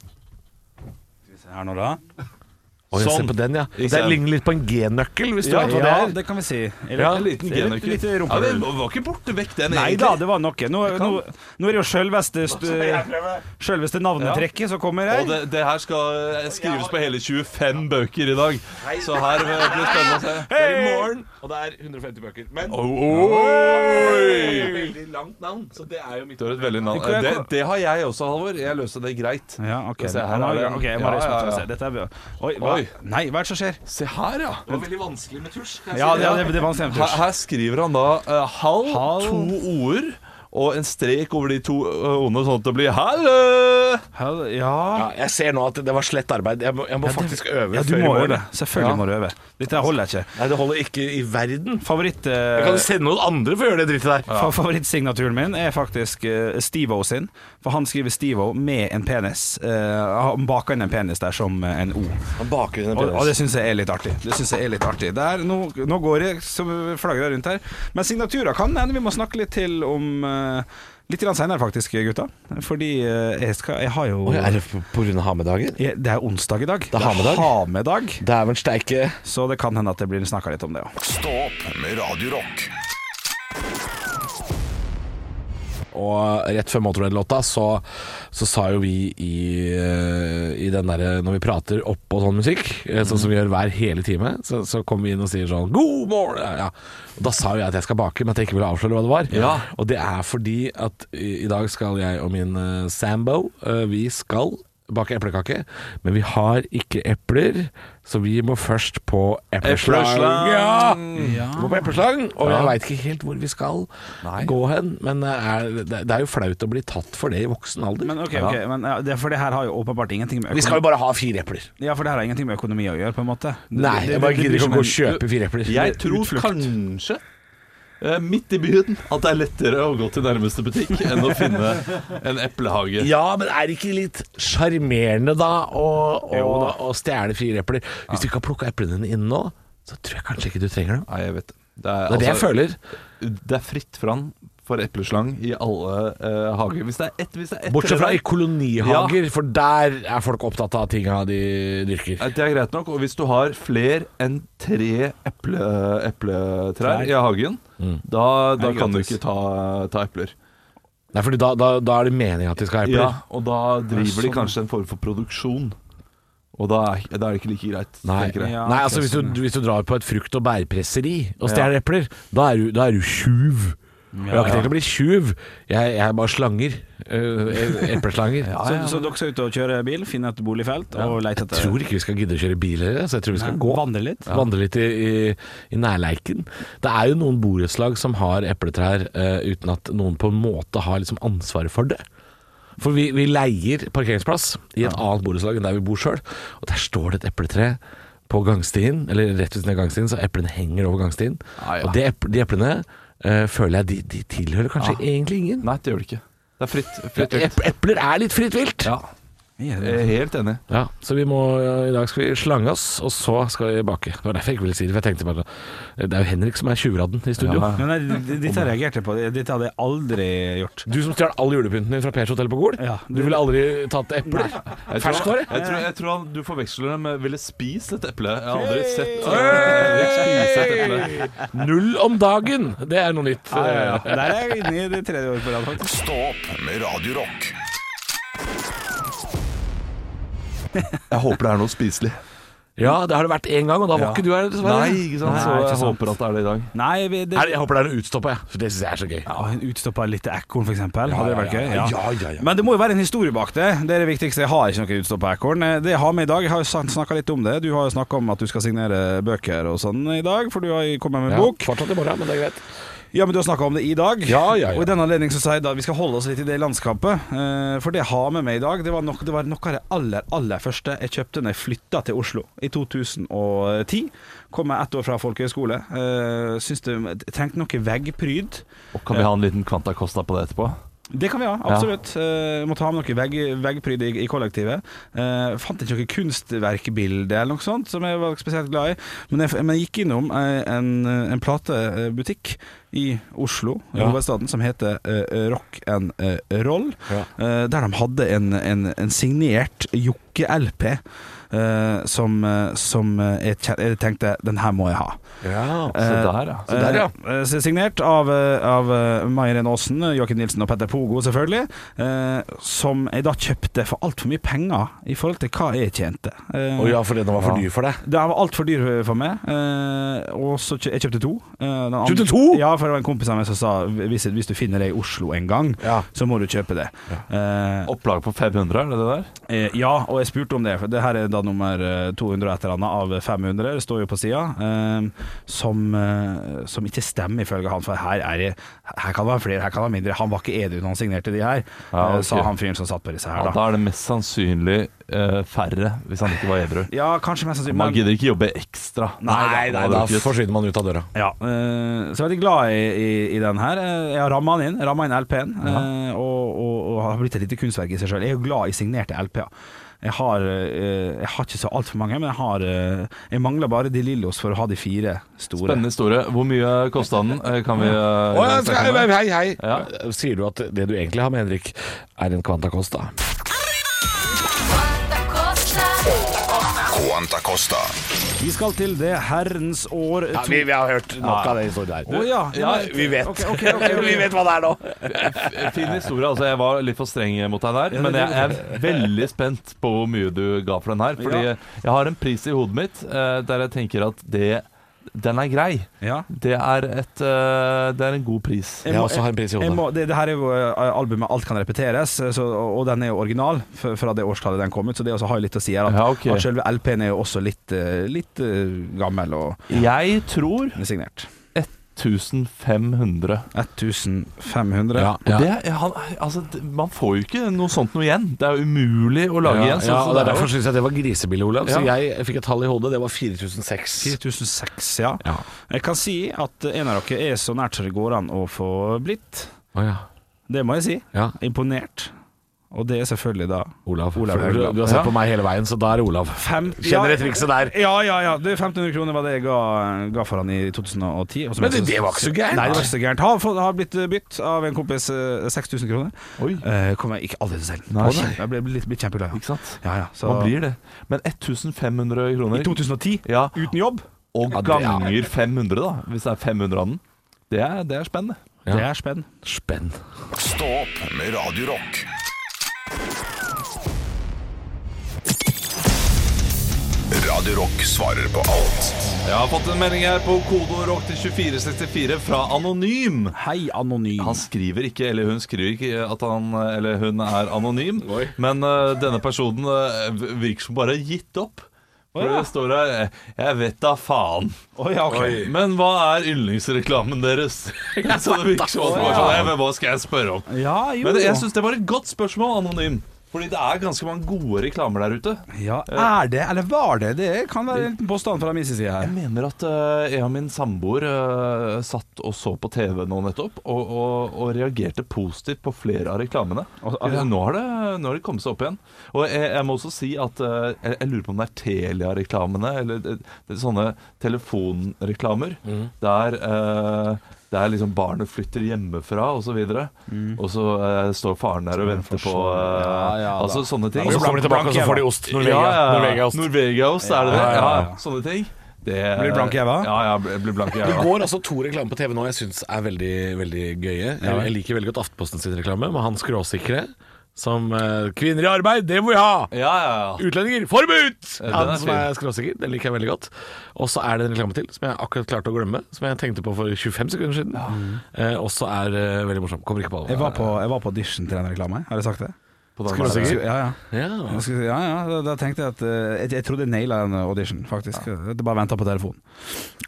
Speaker 4: Her nå da
Speaker 5: Å, jeg
Speaker 3: Sånn.
Speaker 5: ser på den, ja.
Speaker 3: Ikke
Speaker 5: Det
Speaker 3: sant?
Speaker 5: ligner litt på en G-nøkkel, hvis du
Speaker 3: Ja,
Speaker 5: vet hva det
Speaker 4: Ja,
Speaker 5: er.
Speaker 4: det kan vi si. Eller,
Speaker 5: Ja,
Speaker 3: En liten
Speaker 4: eller
Speaker 3: genøkkel.
Speaker 4: litt
Speaker 3: Ja,
Speaker 4: rumpehull.
Speaker 3: den var ikke borte vekk, den
Speaker 4: Nei da,
Speaker 3: egentlig.
Speaker 4: det var nok. Nå, nå, nå er det jo sjølveste Sjølveste navnetrekket som kommer
Speaker 3: Og
Speaker 4: her.
Speaker 3: det, det her skal eh, skrives på hele 25 bøker i dag, så her eh, blir det spennende å se.
Speaker 5: Det er i morgen, og det er 150 bøker. Men det er et
Speaker 3: Oi!
Speaker 5: veldig langt navn, så det er jo mitt
Speaker 3: Du har et veldig navn.
Speaker 4: Tenker jeg-
Speaker 3: Det, det har jeg også, Halvor. Jeg løste det greit.
Speaker 4: Ja, ok.
Speaker 3: Se, her
Speaker 4: Nå-
Speaker 3: er den.
Speaker 4: ok, jeg må
Speaker 3: Ja,
Speaker 4: reise meg
Speaker 3: ja,
Speaker 4: til å
Speaker 3: ja.
Speaker 4: se. Dette er bra. Oi, hva?
Speaker 3: Oi.
Speaker 4: Nei, hva er det som skjer?
Speaker 3: Se her, ja.
Speaker 5: Det var veldig vanskelig med tusj. kan jeg
Speaker 4: Ja,
Speaker 5: si
Speaker 4: det,
Speaker 5: deg.
Speaker 4: det, det var en
Speaker 3: Her,
Speaker 4: stemmetusj.
Speaker 3: her skriver han da eh, halv,
Speaker 4: Halv.
Speaker 3: to ord og en strek over de to eh, ordene, sånn at det blir hallo!
Speaker 4: Hell- Ja.
Speaker 5: Ja, jeg ser nå at det var slett arbeid. Jeg må, jeg må faktisk øve
Speaker 4: ja, du
Speaker 5: før
Speaker 4: må
Speaker 5: i morgen.
Speaker 4: øve. Selvfølgelig må du øve. Dette holder jeg ikke.
Speaker 5: Nei, det holder ikke i verden.
Speaker 4: Favoritt,
Speaker 5: Jeg
Speaker 4: eh,
Speaker 5: kan sende noen andre for å gjøre det drittet der.
Speaker 4: fa Favorittsignaturen min er faktisk eh, Steve-O sin. For han skriver Steve-O med en penis. Eh, han baker inn en penis der som eh, en O.
Speaker 5: Han baker inn en
Speaker 4: Og, og det
Speaker 5: penis.
Speaker 4: syns jeg er litt artig. Det synes jeg er litt artig Der, nå, nå går jeg som flagrer rundt her. Men signaturer kan hende vi må snakke litt til om eh, Litt grann senere faktisk, gutta. Fordi eh, jeg, skal, jeg har jo
Speaker 5: Oi, er det på- på grunn av hamedagen?
Speaker 4: Jeg- Det er onsdag i dag. Det
Speaker 5: er hamedag.
Speaker 4: hamedag.
Speaker 5: Dæven steike.
Speaker 4: Så det kan hende at det blir snakka litt om det òg.
Speaker 1: Stå opp med Radio Rock.
Speaker 5: Og rett før Motorhead-låta så, så sa jo vi i, eh, i den derre Når vi prater oppå sånn musikk, eh, sånn som vi gjør hver hele time, så, så kommer vi inn og sier sånn God morgen! Ja, ja. Og da sa jo jeg at jeg skal bake, men at jeg ikke ville avsløre hva det var.
Speaker 3: Ja.
Speaker 5: Og det er fordi at i, i dag skal jeg og min eh, sambo, eh, vi skal bake eplekake, men vi har ikke epler, så vi må først på epleslang.
Speaker 3: Epleslang.
Speaker 5: Ja! Vi må på epleslang, og jeg veit ikke helt hvor vi skal gå hen. Men eh, er, det det er jo flaut å bli tatt for det i voksen alder.
Speaker 4: Men ok, ok men, ja, det, for det her har jo åpenbart ingenting med
Speaker 5: Vi skal jo bare ha fire epler.
Speaker 4: Ja, for det her har ingenting med økonomi å gjøre, på en måte. Det-
Speaker 5: Nei,
Speaker 4: det-
Speaker 5: jeg
Speaker 4: det
Speaker 5: bare
Speaker 4: blir
Speaker 5: gidder ikke
Speaker 4: som
Speaker 5: å gå og
Speaker 4: en-
Speaker 5: kjøpe fire epler.
Speaker 3: Jeg tror kanskje eh, midt i byen at det er lettere å gå til nærmeste butikk enn å finne en eplehage.
Speaker 5: Ja, men er det ikke litt sjarmerende da å, å, å stjele fire epler? Hvis du ikke har plukka eplene dine inne nå, så tror jeg kanskje ikke du trenger dem.
Speaker 3: Nei, jeg vet det. altså-
Speaker 5: Det
Speaker 4: Altså,
Speaker 5: er det jeg føler.
Speaker 3: Det er fritt fram for epleslang i alle eh, hager. Hvis det er ett hvis det er ett
Speaker 5: Bortsett fra
Speaker 3: tre-
Speaker 5: i kolonihager, for der er folk opptatt av tinga de dyrker.
Speaker 3: Nei, eh, Det er greit nok. Og hvis du har fler enn tre eple, epletrær i hagen,
Speaker 5: Mm.
Speaker 3: da, da
Speaker 4: Er det
Speaker 3: kan du
Speaker 4: gratis?
Speaker 3: ikke ta, ta epler.
Speaker 5: Nei, fordi da, da, da er det meninga at de skal ha epler.
Speaker 3: Ja, og da driver de
Speaker 4: sånn.
Speaker 3: kanskje en form for produksjon. Og da er, da er det ikke like greit.
Speaker 5: Nei,
Speaker 3: tenker jeg.
Speaker 4: Ja,
Speaker 5: Nei
Speaker 4: ok,
Speaker 5: altså hvis du,
Speaker 4: sånn,
Speaker 5: hvis du drar på et frukt- og bærpresseri og stjeler epler, da er du, da er du tjuv. jeg har ikke tenkt å bli tjuv, jeg, jeg er bare slanger. eh, epleslanger.
Speaker 4: Så, så dere skal ut og kjøre bil, finne et boligfelt og lete
Speaker 5: Jeg
Speaker 4: etter
Speaker 5: tror ikke vi skal gidde å kjøre bil heller, så jeg tror vi skal
Speaker 4: Nei,
Speaker 5: gå.
Speaker 4: vandre litt.
Speaker 5: Ja. Vandre litt i, i, i nærleiken. Det er jo noen borettslag som har epletrær eh, uten at noen på en måte har liksom ansvaret for det. For vi, vi leier parkeringsplass i et annet borettslag enn der vi bor sjøl, og der står det et epletre på gangstien, eller rett ved siden av gangstien, så eplene henger over gangstien.
Speaker 3: Ja, Ah, ja.
Speaker 5: Og de, ep- de eplene eh, føler jeg de, de tilhører kanskje egentlig ingen.
Speaker 3: Nei, det gjør det ikke. Det er fritt. fritt
Speaker 5: Ep-
Speaker 3: vilt.
Speaker 5: Epler er litt fritt vilt.
Speaker 3: Ja,
Speaker 4: Ja,
Speaker 3: jeg
Speaker 4: det-
Speaker 5: Eh,
Speaker 3: er helt enig.
Speaker 5: Ja, så vi må, i dag skal vi slange oss, og så skal vi bake. Det var derfor jeg ikke ville si det, for jeg tenkte bare Det er jo Henrik som er tjuvradden i studio.
Speaker 3: Ja.
Speaker 4: Men nei, d- dette reagerte jeg på. Dette hadde jeg aldri gjort.
Speaker 5: Du som stjal all julepynten din fra Pers hotell på Gol.
Speaker 4: Ja.
Speaker 5: Du ville aldri tatt epler.
Speaker 3: Jeg tror,
Speaker 5: Ferskvare.
Speaker 3: jeg tror, jeg tror han- du forveksler det med 'ville spist et eple'. Jeg har aldri
Speaker 4: Hey!
Speaker 3: sett
Speaker 5: Hey!
Speaker 3: spise et eple.
Speaker 5: Null om dagen! Det er noe nytt.
Speaker 4: Der er jeg inne i det tredje året på rad, faktisk.
Speaker 1: Stå opp med Radio Rock.
Speaker 3: Jeg håper det er noe spiselig.
Speaker 5: Ja, det har det vært én gang, og da var
Speaker 3: Ja.
Speaker 5: ikke du her, dessverre.
Speaker 3: Nei, ikke sant? Så
Speaker 4: Nei, ikke
Speaker 3: jeg
Speaker 4: sant.
Speaker 3: håper at det er det i dag.
Speaker 4: Nei, vi, det,
Speaker 5: Er det- Jeg håper det er noe utstoppa, jeg. For det syns jeg er så gøy.
Speaker 4: ja, en utstoppa lite ekorn, for eksempel. Hadde det vært gøy?
Speaker 5: ja, ja, ja, ja.
Speaker 4: Men det må jo være en historie bak det. Det er det viktigste. Jeg har ikke noe utstoppa ekorn. Eh, Det jeg har med i dag, jeg har snakka litt om det. Du har jo snakka om at du skal signere bøker og sånn i dag, for du har kommet med en
Speaker 5: Ja,
Speaker 4: bok.
Speaker 5: Fortsatt i morgen, men det er greit.
Speaker 4: Ja, men du har snakka om det i dag.
Speaker 5: Ja, ja, ja.
Speaker 4: Og i denne anledning så sier jeg da at vi skal holde oss litt i det landskapet. eh, for det jeg har med meg i dag, det var, nok, det var noe av det aller, aller første jeg kjøpte når jeg flytta til Oslo i 2010. Kom jeg ett år fra folkehøyskole. Uh, syns det jeg trengte noe veggpryd.
Speaker 3: Og kan vi ha en liten Quanta Costa på det etterpå?
Speaker 4: Det kan vi ha, absolutt. Eh, må ta med noe vegg, veggpryd i, i kollektivet. Eh, fant ikke noe kunstverkbilde eller noe sånt som jeg var spesielt glad i. Men jeg, men jeg gikk innom eh, en, en platebutikk i Oslo, i
Speaker 5: Ja.
Speaker 4: hovedstaden, som heter eh, Rock and eh, Roll.
Speaker 5: Ja.
Speaker 4: eh, der de hadde en, en, en signert Jokke-LP. eh, som, eh, som eh, jeg kjen- jeg tenkte den her må jeg ha.
Speaker 5: Ja.
Speaker 3: Se der, ja.
Speaker 5: Så der, ja.
Speaker 4: Eh, eh, signert av, eh, av eh, Mai Irene Aasen, Joakim Nilsen og Petter Pogo, selvfølgelig. eh, som jeg da kjøpte for altfor mye penger i forhold til hva jeg tjente. Eh,
Speaker 5: Å ja, for den var for
Speaker 3: Ja.
Speaker 5: dyr for deg.
Speaker 4: Det var altfor dyr for meg, eh, og så kjø jeg kjøpte to. Eh, den andre-
Speaker 5: Kjøpte to?
Speaker 4: Ja, for det var en kompis av meg som sa hvis, hvis du finner det i Oslo en gang,
Speaker 5: Ja.
Speaker 4: så må du kjøpe det. Eh,
Speaker 3: Opplag på 500, er det det der?
Speaker 4: Eh, ja, og jeg spurte om det, for det her er da nummer eh, 200 og et eller annet av 500, det står jo på sida, eh, som, eh, som ikke stemmer ifølge han, for her, er det, her kan det være flere, her kan det være mindre. Han var ikke edru når han signerte de her,
Speaker 3: Ja,
Speaker 4: eh,
Speaker 3: ok.
Speaker 4: sa han fyren som satt på disse
Speaker 3: Ja,
Speaker 4: her, da.
Speaker 3: da er det mest sannsynlig eh, færre, hvis han ikke var edru.
Speaker 4: Ja, kanskje mest sannsynlig.
Speaker 3: Man
Speaker 4: men-
Speaker 3: gidder ikke jobbe ekstra.
Speaker 5: Nei, nei, da
Speaker 3: det er
Speaker 5: forsvinner man ut av døra.
Speaker 4: Ja, eh, så jeg er veldig glad i, i, i den her. Eh, Jeg har ramma den inn, ramma inn LP-en, eh, og, og, og har blitt et lite kunstverk i seg sjøl. Jeg er jo glad i signerte LP-er. Jeg har, eh, jeg har ikke så altfor mange, men jeg, har, eh, jeg mangler bare de Lillos for å ha de fire store.
Speaker 3: Spennende historie. Hvor mye kosta den? Eh, Kan vi eh,
Speaker 5: Å ja,
Speaker 3: snakke om
Speaker 5: hei,
Speaker 3: det?
Speaker 5: hei, hei.
Speaker 3: Ja.
Speaker 5: Sier du at det du egentlig har med Henrik, er en Quanta Costa?
Speaker 1: Quanta Costa.
Speaker 4: Vi skal til det herrens år
Speaker 5: Ja,
Speaker 4: to-
Speaker 5: vi, vi har hørt nok av den historien
Speaker 4: Å
Speaker 5: der.
Speaker 4: ja,
Speaker 3: ja,
Speaker 4: men-
Speaker 5: Vi vet.
Speaker 4: Ok, ok, ok, ok.
Speaker 5: vi vet hva det er nå.
Speaker 3: Fin historie. altså Jeg var litt for streng mot deg der,
Speaker 4: Ja,
Speaker 3: men
Speaker 4: det-
Speaker 3: jeg er veldig spent på hvor mye du ga for den her. Fordi
Speaker 4: Ja.
Speaker 3: jeg har en pris i hodet mitt eh, der jeg tenker at det den er grei.
Speaker 4: Ja.
Speaker 3: Det er, et, eh, det er en god pris.
Speaker 4: Jeg
Speaker 5: Jeg
Speaker 4: må-
Speaker 5: også har en pris i
Speaker 4: Jeg
Speaker 5: hodet.
Speaker 4: må, det, det her er jo eh, albumet 'Alt kan repeteres', eh, så, og, og den er jo original fra, fra det årstallet den kom ut, så det også har jo litt å si her. At,
Speaker 3: Ja, ok.
Speaker 4: at selve LP-en er jo også litt, eh, litt eh, gammel og
Speaker 3: Jeg tror
Speaker 4: signert.
Speaker 3: 1500.
Speaker 4: 1500.
Speaker 5: Ja,
Speaker 3: Og
Speaker 5: ja.
Speaker 3: Det, er- han, altså, det- man får jo ikke noe sånt noe igjen. Det er jo umulig å lage
Speaker 5: Ja,
Speaker 3: igjen. så-
Speaker 5: ja,
Speaker 3: så
Speaker 5: og det er
Speaker 3: det er jo-
Speaker 5: derfor syns jeg det var grisebillig, Olav. Så
Speaker 3: Ja.
Speaker 5: jeg fikk et tall i hodet. Det var 4006.
Speaker 4: 4006, ja.
Speaker 5: Ja.
Speaker 4: Jeg kan si at en av dere er så nært som det går an å få blitt.
Speaker 5: Å ja.
Speaker 4: Det må jeg si.
Speaker 5: Ja.
Speaker 4: Imponert. Og det er selvfølgelig da Olav
Speaker 5: Olav. for du,
Speaker 4: Haugland.
Speaker 5: du har sett
Speaker 4: Ja.
Speaker 5: på meg hele veien, så da er det Olav.
Speaker 4: Fem,
Speaker 5: Kjenner
Speaker 4: ja,
Speaker 5: det trikset der.
Speaker 4: Ja, ja, ja. Det er 1500 kroner var det jeg ga, ga for han i 2010. og som
Speaker 5: Men
Speaker 4: jeg-
Speaker 5: det- det var ikke så gærent.
Speaker 4: Nei, det var ikke så gærent. Har, fått- har blitt bytt av en kompis eh, 6000 kroner.
Speaker 3: Oi,
Speaker 4: Eh, kom jeg ikke aldri til selv.
Speaker 3: Nei.
Speaker 4: Å, Jeg ble, ble, litt- blitt kjempeglad. ja.
Speaker 3: ikke sant?
Speaker 4: Ja, ja. Så,
Speaker 3: Man blir det. Men 1500 kroner
Speaker 4: I 2010,
Speaker 3: ja,
Speaker 4: uten jobb,
Speaker 3: og
Speaker 5: Ja, det er-
Speaker 3: ganger 500, da, hvis det er 500 av den, det er, det er spennende.
Speaker 5: Ja.
Speaker 4: det er spenn.
Speaker 5: Spenn.
Speaker 1: Stå opp med Radio Rock. Radio Rock svarer på alt.
Speaker 3: Jeg har fått en melding her på kodeord rock til 2464 fra Anonym.
Speaker 4: Hei, anonym.
Speaker 3: Han skriver ikke, eller hun skriver ikke at han eller hun er anonym, men eh, denne personen eh, virker som bare gitt opp. For
Speaker 4: Å, ja.
Speaker 3: det står her eh, 'Jeg vet da faen'.
Speaker 4: Å, ja, ok.
Speaker 3: Men hva er yndlingsreklamen deres? så det virker som at det var sånn, «Nei, men Hva skal jeg spørre om?
Speaker 4: Ja, jo.
Speaker 3: Men jeg syns det var et godt spørsmål, Anonym. Fordi det er ganske mange gode reklamer der ute.
Speaker 4: ja,
Speaker 5: Eh,
Speaker 4: er det, eller var det det? Kan være en liten påstand fra min side her.
Speaker 3: Jeg mener at eh, en av min samboer eh, satt og så på TV nå nettopp, og, og, og reagerte positivt på flere av reklamene.
Speaker 4: Og- ah, ja.
Speaker 3: Eh, Nå har det, nå har det kommet seg opp igjen. Og jeg, jeg må også si at eh, jeg, jeg lurer på om det er Telia-reklamene, eller det, det, er sånne telefonreklamer,
Speaker 4: Mm.
Speaker 3: der eh, det er liksom barnet flytter hjemmefra, og så videre.
Speaker 4: Mm.
Speaker 3: Og så eh, står faren der og venter på eh,
Speaker 4: Ja, ja, da.
Speaker 3: Altså sånne ting.
Speaker 5: Og så kommer de tilbake, og så får de ost. Norvegia.
Speaker 3: Ja, ja, ja.
Speaker 5: Norvegia-ost.
Speaker 3: Norvegia-ost, er det det?
Speaker 5: Ja,
Speaker 3: Ja,
Speaker 5: ja, ja.
Speaker 3: Sånne ting. Det,
Speaker 4: Blir blank i øynene?
Speaker 3: Ja, ja, blir blir blank i
Speaker 5: Det
Speaker 3: øynene.
Speaker 5: går altså to reklamer på TV nå jeg syns er veldig, veldig gøye. Jeg, jeg liker veldig godt Aftenposten sin reklame med han skråsikre som eh, 'Kvinner i arbeid, det må vi ha!'
Speaker 3: Ja, ja, ja.
Speaker 5: Utlendinger forbudt!
Speaker 3: Ja, den
Speaker 5: Han
Speaker 3: er
Speaker 5: som er skråsikker. Den liker jeg veldig godt. Og så er det en reklame til som jeg akkurat klarte å glemme, som jeg tenkte på for 25 sekunder siden. Eh, også er eh, veldig morsom. Kommer ikke på
Speaker 4: Jeg var på, jeg var på audition til den reklamen, har jeg sagt det?
Speaker 3: På den der.
Speaker 5: Skråsikker. Sikkert.
Speaker 4: Ja, ja.
Speaker 5: Ja.
Speaker 4: Jeg skulle si, Ja, ja, da, da tenkte jeg at eh, jeg, jeg trodde jeg naila en audition, faktisk. Jeg bare venta på telefonen.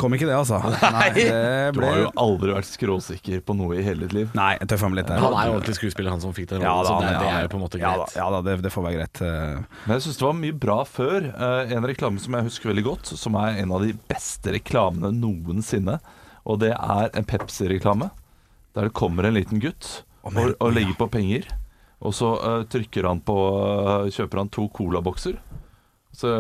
Speaker 4: Kom ikke det, altså. Nei, det
Speaker 3: Du
Speaker 4: ble
Speaker 3: har jo aldri vært skråsikker på noe i hele ditt liv.
Speaker 4: Nei, jeg tøffa meg litt der.
Speaker 5: Han er jo ordentlig skuespiller, han som fikk den
Speaker 4: da,
Speaker 5: rollen, så det,
Speaker 4: men
Speaker 5: det
Speaker 4: ja,
Speaker 5: er jo på en måte
Speaker 4: Ja da,
Speaker 5: greit.
Speaker 4: ja, da det, det får være greit. eh.
Speaker 3: Men jeg syns det var mye bra før. Eh, en reklame som jeg husker veldig godt, som er en av de beste reklamene noensinne, og det er en Pepsi-reklame. Der det kommer en liten gutt og,
Speaker 4: men-
Speaker 3: og legger på penger. Og så eh, trykker han på eh, Kjøper han to colabokser. Så,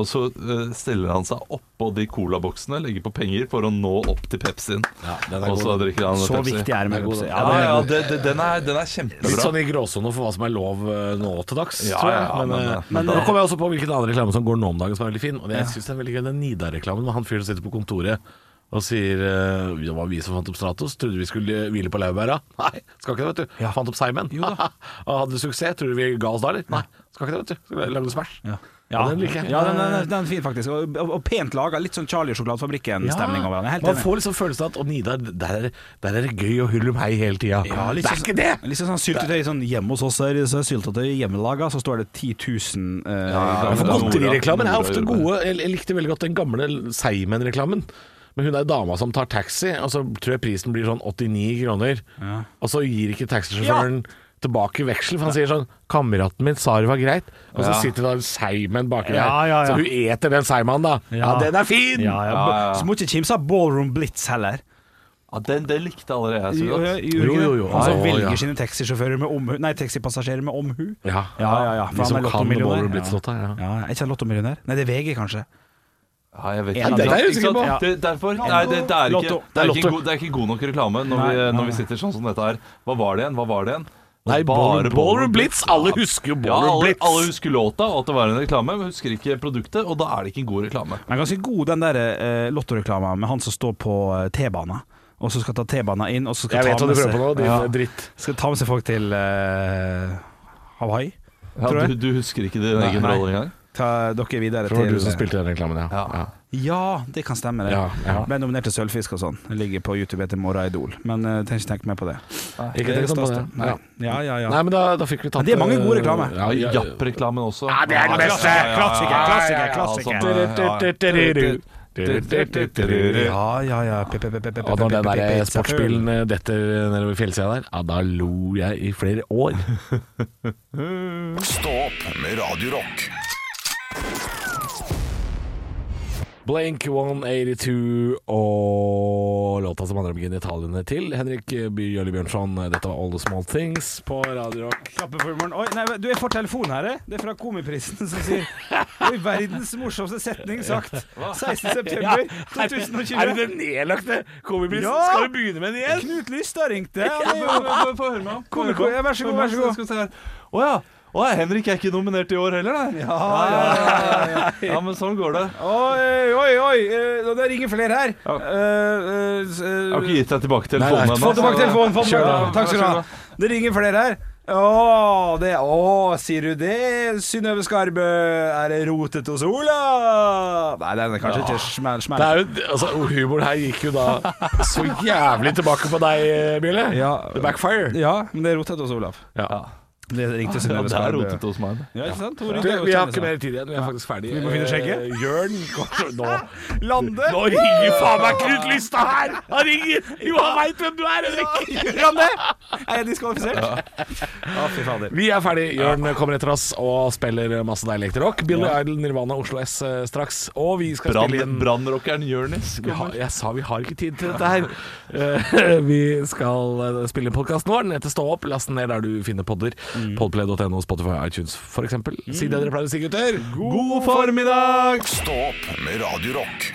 Speaker 3: og så eh, stiller han seg oppå de colaboksene, legger på penger for å nå opp til Pepsien.
Speaker 5: Ja, den er
Speaker 3: og så
Speaker 5: god.
Speaker 3: drikker han
Speaker 4: Så
Speaker 3: Pepsi.
Speaker 4: viktig er det med
Speaker 5: god,
Speaker 4: Pepsi.
Speaker 5: da.
Speaker 4: Ja,
Speaker 3: Ja,
Speaker 4: det
Speaker 3: ja,
Speaker 4: er
Speaker 3: det, det, den, er, den er
Speaker 5: Litt
Speaker 3: kjempebra.
Speaker 5: sånn i gråsone for hva som er lov eh, nå til dags,
Speaker 3: Ja,
Speaker 5: tror jeg.
Speaker 3: ja,
Speaker 5: men,
Speaker 3: men,
Speaker 5: eh,
Speaker 3: eh,
Speaker 5: men
Speaker 3: men
Speaker 5: nå
Speaker 3: det-
Speaker 5: kommer jeg også på hvilken andre reklame som går nå om dagen som er veldig fin. Og det jeg synes er veldig gøy, den Nidar-reklamen med han fyren som sitter på kontoret og sier eh, Det var vi som fant opp Stratos, trodde vi skulle hvile på laurbæra. Nei, skal ikke det, vet du. Fant opp Simon. og hadde suksess. Tror du vi ga oss da, eller? Nei, skal ikke det, vet du. Skal lage Smash.
Speaker 4: Ja.
Speaker 5: Ja, den liker jeg.
Speaker 4: Ja, den, den, den er fin faktisk. Og, og, og pent laga. Litt sånn Charlie og sjokoladefabrikken-stemning over den. Jeg er Helt
Speaker 5: Man
Speaker 4: enig.
Speaker 5: får liksom følelsen av at å, Nidar, der, er- der er det gøy å hylle meg hele tida.
Speaker 4: Ja, litt
Speaker 5: det er
Speaker 4: sånn-
Speaker 5: ikke det!
Speaker 4: Litt sånn syltetøy sånn Hjemme hos oss er det så syltetøy hjemmelaga, så står det 10 000 eh,
Speaker 3: Ja,
Speaker 5: For
Speaker 3: Nora-
Speaker 5: Godterireklamer er
Speaker 3: Nora
Speaker 5: ofte
Speaker 3: gjorde det.
Speaker 5: gode. Jeg jeg likte veldig godt den gamle Seimen-reklamen. Men hun er dama som tar taxi, og så tror jeg prisen blir sånn 89 kroner. Og så gir ikke taxisjåføren tilbake veksel, for han sier sånn 'Kameraten min sa det var greit', og så sitter det en Seimen baki der.
Speaker 4: Ja, ja, ja.
Speaker 5: Så hun eter den Seimanen, da. Ja.
Speaker 4: Ja.
Speaker 5: den er fin!
Speaker 4: Ja, ja.
Speaker 3: Ja, ja.
Speaker 4: Så må ikke kimse av Ballroom Blitz heller.
Speaker 3: Ja, den, den likte allerede jeg så
Speaker 4: Jo,
Speaker 3: godt.
Speaker 5: Jo, jo, jo.
Speaker 4: Han som
Speaker 5: Ja,
Speaker 4: velger
Speaker 5: ja.
Speaker 4: sine taxisjåfører med omhu Nei, taxipassasjerer med omhu.
Speaker 5: Ja,
Speaker 4: Ja, ja, ja.
Speaker 5: De som kan Ballroom Blitz-låta.
Speaker 4: Ja.
Speaker 5: Ja.
Speaker 4: Ja, er ikke han lottomillionær? Nei, det er VG, kanskje.
Speaker 3: Ja, jeg vet
Speaker 4: Ja,
Speaker 3: ikke.
Speaker 4: det er
Speaker 5: jeg
Speaker 3: Ikke
Speaker 5: usikker
Speaker 3: sant?
Speaker 5: på.
Speaker 3: Det, derfor, nei, det, det, er ikke, det, er
Speaker 4: Lotto.
Speaker 5: Det er
Speaker 3: ikke
Speaker 5: Lotto.
Speaker 3: god, det er ikke god nok reklame når,
Speaker 4: Nei,
Speaker 3: vi,
Speaker 4: nei,
Speaker 3: når vi
Speaker 4: nei.
Speaker 3: sitter sånn som dette her. Hva var det igjen? Hva var det igjen?
Speaker 5: Nei, Ballroom, Ballroom Blitz! Alle husker jo
Speaker 3: Ja,
Speaker 5: Ballroom
Speaker 3: alle,
Speaker 5: Blitz.
Speaker 3: alle husker låta og at det var en reklame, men husker ikke produktet, og da er det ikke en god reklame.
Speaker 4: Den er ganske god, den der eh, lottoreklama med han som står på eh, T-bana, og så skal ta T-bana inn, og så skal
Speaker 5: Jeg vet
Speaker 4: ta
Speaker 5: hva du
Speaker 4: med seg
Speaker 5: prøver på nå, din eh,
Speaker 4: Ja.
Speaker 5: dritt.
Speaker 4: Skal ta med seg folk til eh, Hawaii.
Speaker 3: Ja,
Speaker 4: Tror jeg.
Speaker 3: du, du husker ikke din egen
Speaker 4: nei.
Speaker 3: rolle engang?
Speaker 4: Ta dere videre
Speaker 5: Det var
Speaker 4: til eh,
Speaker 5: du som spilte den reklamen, ja.
Speaker 3: Ja.
Speaker 4: Ja, det kan stemme, det.
Speaker 5: Ja, ja.
Speaker 4: Ble nominert til Sølvfisk og sånn. Det Ligger på YouTube etter Morra Idol. Men eh, tenk ikke tenk mer på det.
Speaker 5: Ikke tenk sånn på det.
Speaker 4: Nei. Ja, ja, ja.
Speaker 5: Nei, men da, da fikk vi tatt
Speaker 4: Men det er mange gode reklame.
Speaker 5: Ja, ja, ja.
Speaker 3: Japp-reklamen også.
Speaker 5: Ja, det er det beste.
Speaker 3: Ja, ja, ja, ja.
Speaker 4: Klassiker, klassiker,
Speaker 3: Ja, ja, ja.
Speaker 4: Ja, ja, ja. Pe- pe- pe- pe- pe-
Speaker 5: Og
Speaker 4: pe-
Speaker 5: når den
Speaker 4: pe- pe-
Speaker 5: der sportsbilen eh, detter nedover fjellsida der, ja, da lo jeg i flere år.
Speaker 1: Stå opp med Radio Rock.
Speaker 5: Blank 182 og låta som handler om genitaliene til Henrik Bjørli Bjørnson. Dette var All the Small Things på Radio Rock.
Speaker 4: Klappe for morgen. Oi, nei, du, jeg får telefon her. jeg. Det er fra Komiprisen som sier Oi, verdens morsomste setning sagt. 16. september 2020.
Speaker 5: Er det den nedlagte komiprisen?
Speaker 4: Ja!
Speaker 5: Skal vi begynne med den igjen?
Speaker 4: Knut Lys da ringte.
Speaker 3: Ja,
Speaker 4: Han
Speaker 3: men-
Speaker 4: er
Speaker 3: men-
Speaker 4: jo-
Speaker 3: men- Få høre meg om.
Speaker 4: Kom, kom. Ja, vær så god, vær så god.
Speaker 3: Skal vi se her. Å ja. Å ja, Henrik er ikke nominert i år heller, nei. Ja, ja, ja, ja, ja. ja men sånn går det.
Speaker 4: Oi, oi, oi. eh, nå- Det ringer flere her.
Speaker 3: Ja.
Speaker 4: Eh, eh, s-
Speaker 3: Jeg har ikke gitt deg tilbake
Speaker 5: Nei,
Speaker 3: telefonen
Speaker 5: nei.
Speaker 3: ennå.
Speaker 4: Få tilbake
Speaker 3: så-
Speaker 4: telefonen. Få
Speaker 5: Kjør da.
Speaker 4: tilbake. Takk skal du ha. Det ringer flere her. Å, det, å, sier du det, Synnøve Skarbø? Er det rotet hos Ola? Nei, den er kanskje ikke smell, smell.
Speaker 5: Det er jo, altså, humoren her gikk jo da så jævlig tilbake på deg, Bjørli.
Speaker 4: Ja.
Speaker 5: The backfire.
Speaker 4: Ja, men det er rotet hos Olav.
Speaker 5: Ja.
Speaker 4: Det ringte
Speaker 3: Ja,
Speaker 4: Synnøve
Speaker 3: det er
Speaker 4: Skarbø.
Speaker 3: rotete hos meg.
Speaker 4: Ja, ikke sant? Hun
Speaker 5: Du,
Speaker 4: ringte jo
Speaker 5: vi har
Speaker 4: kjendiser.
Speaker 5: ikke mer tid igjen, vi er faktisk ferdige.
Speaker 4: Vi må finne skjegget.
Speaker 5: Eh, Jørn går- nå,
Speaker 4: Lande!
Speaker 5: nå ringer faen meg Knut Lystad her! Han ringer! Jo, han veit hvem du er, Henrik!
Speaker 4: Lande! Er jeg diskvalifisert? Ja. fy fader.
Speaker 5: Vi er ferdige. Jørn kommer etter oss og spiller masse deilig rock. Billy Idol, Nirvana, Oslo S eh, straks. Og vi skal spille
Speaker 3: Brann-
Speaker 5: inn
Speaker 3: Brannrockeren Jonis
Speaker 5: Vi har,
Speaker 3: kommer.
Speaker 5: jeg sa vi har ikke tid til dette her. Eh, vi skal eh, spille inn podkasten vår. Den heter Stå opp. Last den ned der du finner podder.
Speaker 4: Mm.
Speaker 5: Podplay.no, Spotify, iTunes f.eks. Si det dere pleier å si, gutter.
Speaker 3: God formiddag!
Speaker 1: Stå opp med Radio Rock.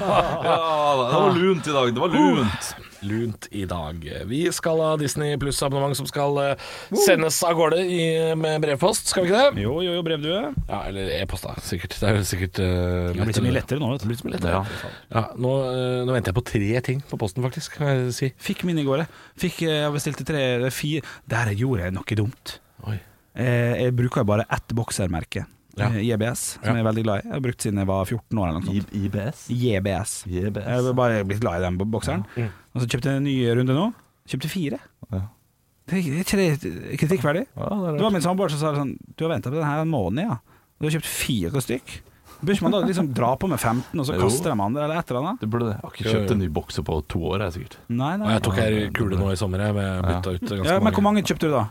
Speaker 3: Ja, det var lunt i dag. Det var lunt.
Speaker 5: Lunt i dag. Vi skal ha Disney pluss-abonnement som skal eh, sendes av gårde i, med brevpost, skal vi ikke det?
Speaker 4: Jo, jo, jo, brevdue.
Speaker 5: Ja, eller e-post, da. Sikkert. Det er jo sikkert eh,
Speaker 4: Det blir så mye lettere nå, vet du.
Speaker 5: Litt mye lettere. Ja. nå, eh, nå venter jeg på tre ting på posten, faktisk, kan jeg si.
Speaker 4: Fikk min i går, jeg. Fikk, eh, jeg bestilte tre eller fire. Der gjorde jeg noe dumt.
Speaker 5: Oi.
Speaker 4: Eh, Jeg bruker jo bare ett boksermerke.
Speaker 5: Ja.
Speaker 4: Eh, JBS, som jeg er veldig glad i. Jeg har brukt siden jeg var 14 år eller noe sånt.
Speaker 3: IBS.
Speaker 4: JBS. Jeg
Speaker 3: IBS.
Speaker 4: har bare blitt glad i den bokseren. Og så kjøpte jeg en ny runde nå. Kjøpte fire.
Speaker 3: Ja.
Speaker 4: Det er ikke det kritikkverdig.
Speaker 3: Ja, det er
Speaker 4: Det
Speaker 3: rart.
Speaker 4: var min samboer som sa det sånn Du har venta på den her en måned, ja. Du har kjøpt fire stykk. Bør ikke man da liksom dra på med 15, og så
Speaker 3: Jo.
Speaker 4: kaster de andre, eller et eller annet?
Speaker 3: Du burde det. Jeg har ikke kjøpt en ny bokser på to år, jeg, sikkert.
Speaker 4: Nei,
Speaker 5: Og
Speaker 4: nei.
Speaker 5: jeg tok ei kule nå i sommer, jeg. men jeg Bytta ut ganske
Speaker 4: Ja, men hvor mange kjøpte du da?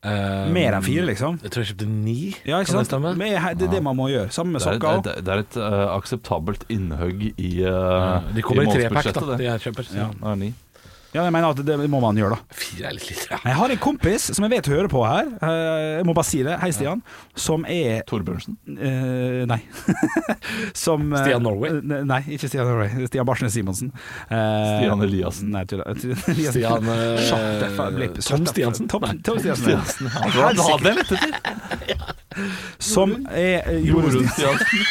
Speaker 5: Eh,
Speaker 4: Mer enn fire, liksom?
Speaker 5: Jeg tror jeg kjøpte ni.
Speaker 4: Ja, ikke
Speaker 5: kan
Speaker 4: sant?
Speaker 5: det stemme?
Speaker 4: Men he- det er det man må gjøre. Sammen med
Speaker 3: Det er,
Speaker 4: sokker
Speaker 3: det, er- det er et eh, akseptabelt innhugg i,
Speaker 5: Ja,
Speaker 3: uh,
Speaker 5: De kommer i trepack, da, de jeg kjøper.
Speaker 3: Ja, det er ni.
Speaker 4: Ja, jeg mener at det må man gjøre, da.
Speaker 5: Fire er litt lite. ja.
Speaker 4: Jeg har en kompis som jeg vet hører på her, eh, jeg må bare si det, hei Stian, som er
Speaker 3: Torbjørnsen.
Speaker 4: Eh, nei. Som eh,
Speaker 5: Stian Norway?
Speaker 4: ne- Nei, ikke Stian Norway. Stian Barsnes Simonsen. Eh,
Speaker 3: Stian Eliassen.
Speaker 4: Nei, tulla.
Speaker 5: Stian, eh,
Speaker 4: Sjarteffa- blipp.
Speaker 5: Tom Stiansen?
Speaker 4: Tom,
Speaker 5: Nei.
Speaker 4: Tom Stiansen.
Speaker 3: Hadde jeg lett etter?
Speaker 4: Som er eh, Jorunn
Speaker 3: Jorunn Stiansen.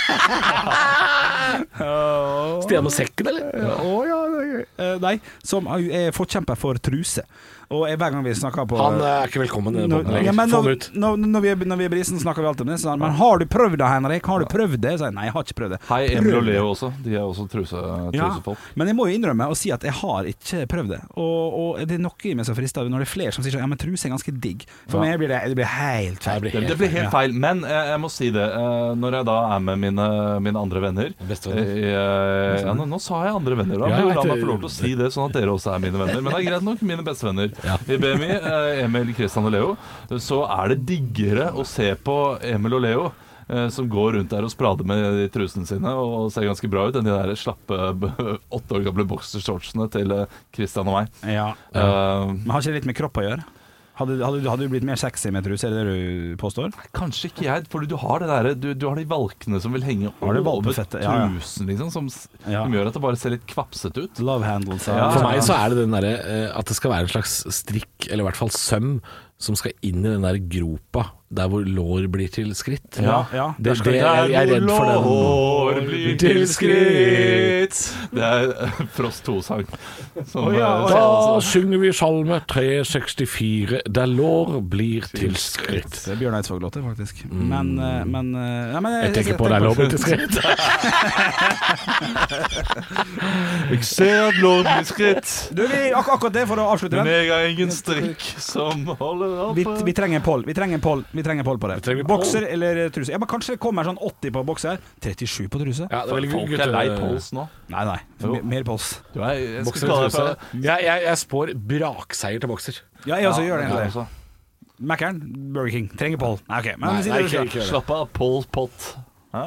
Speaker 5: Stian og sekken, eller?
Speaker 4: Å ja, det er gøy. Eh, Nei, som er forkjemper for truse. Og jeg- hver gang vi snakker på
Speaker 5: Han eh, er ikke velkommen i denne
Speaker 4: Når,
Speaker 5: podden
Speaker 4: ja, men
Speaker 5: lenger. Få
Speaker 4: når,
Speaker 5: han ut.
Speaker 4: når, når, vi er, når vi er brisen, snakker vi alltid om det. Sånn, men har du prøvd det, Henrik? Har du prøvd det? Så jeg, nei, jeg har ikke prøvd det.
Speaker 3: Hei, Emil
Speaker 4: Prøv
Speaker 3: og
Speaker 4: det.
Speaker 3: Leo også. De er også truse,
Speaker 4: Ja,
Speaker 3: trusefolk.
Speaker 4: men jeg må jo innrømme å si at jeg har ikke prøvd det. Og, og det er noe i meg som frister når det er flere som sier sånn, ja, men truse er ganske digg. For meg blir det, det blir helt
Speaker 5: Det
Speaker 4: feil.
Speaker 5: blir
Speaker 3: Det,
Speaker 5: helt
Speaker 3: det blir
Speaker 5: feil.
Speaker 3: helt feil, men jeg, jeg må si det. eh, Når jeg da er med mine, mine andre venner
Speaker 5: Bestevenner.
Speaker 3: eh, ja, nå, nå sa jeg andre venner, da.
Speaker 5: Ja, jeg
Speaker 3: men La
Speaker 5: vet
Speaker 3: meg
Speaker 5: det.
Speaker 3: få lov til å si det, sånn at dere også er mine venner. Men det er greit nok, mine bestevenner.
Speaker 5: Ja.
Speaker 3: I BMI, eh, Emil, Kristian og Leo, så er det diggere å se på Emil og Leo. eh, Som går rundt der og sprader med de trusene sine og ser ganske bra ut, enn de der slappe b- åtte år gamle boksershortsene til eh, Kristian og meg.
Speaker 4: Ja.
Speaker 3: Eh,
Speaker 4: Men har ikke det litt med kropp å gjøre? Hadde, hadde, hadde du blitt mer sexy med truse, er det det du påstår?
Speaker 3: Kanskje ikke jeg, for du har, det der, du, du har de valkene som vil henge
Speaker 4: Har du
Speaker 3: over
Speaker 4: valpefettet? Ja, ja.
Speaker 3: trusen, liksom, som, s-
Speaker 4: Ja.
Speaker 3: som gjør at det bare ser litt kvapsete ut.
Speaker 4: Love handles.
Speaker 3: Ja,
Speaker 5: For meg så er det den derre eh, at det skal være en slags strikk, eller i hvert fall søm, som skal inn i den der gropa der hvor lår blir til skritt.
Speaker 4: Ja, ja.
Speaker 5: Det, det, jeg, jeg er redd for den.
Speaker 3: Lår blir til skritt Det er eh, Frost 2-sang. Som,
Speaker 4: ja,
Speaker 3: eh,
Speaker 4: å
Speaker 5: Da synger vi salme 364, der lår blir til skritt.
Speaker 4: Det er Bjørn Eidsvåg-låter, faktisk. Men, eh, men, eh, ja, men
Speaker 5: Mm. Jeg tenker på der lår blir til skritt.
Speaker 3: Jeg ser lår blir skritt,
Speaker 4: Du, vi, ak akkurat det, for å avslutte
Speaker 3: men
Speaker 4: den.
Speaker 3: jeg har ingen strikk som holder
Speaker 4: Vi,
Speaker 3: oppe.
Speaker 4: vi trenger en poll Vi trenger en poll Vi trenger en poll på det.
Speaker 5: trenger en poll.
Speaker 4: Bokser eller truse? Ja, men Kanskje det kommer sånn 80 på bokser. 37 på truse?
Speaker 5: Ja, det er veldig
Speaker 3: Folk er
Speaker 5: gutte-
Speaker 3: lei pols nå.
Speaker 4: Nei, nei.
Speaker 3: Jo.
Speaker 4: M- Mer pols.
Speaker 3: Du er, jeg
Speaker 5: Bokser
Speaker 3: skal
Speaker 5: og
Speaker 3: kalle deg
Speaker 5: truse.
Speaker 3: for
Speaker 5: Jeg, jeg, jeg spår brakseier til bokser.
Speaker 4: Ja, jeg også
Speaker 3: Ja,
Speaker 4: gjør det.
Speaker 3: jeg
Speaker 4: egentlig.
Speaker 3: også.
Speaker 4: Mækkern, Burger King. Trenger Pål. Nei, ok. Men
Speaker 5: Nei,
Speaker 4: vi sier
Speaker 5: nei,
Speaker 4: det
Speaker 5: ikke,
Speaker 4: ikke.
Speaker 5: ikke gjør det.
Speaker 3: Slapp av, Pol Pott. Hæ?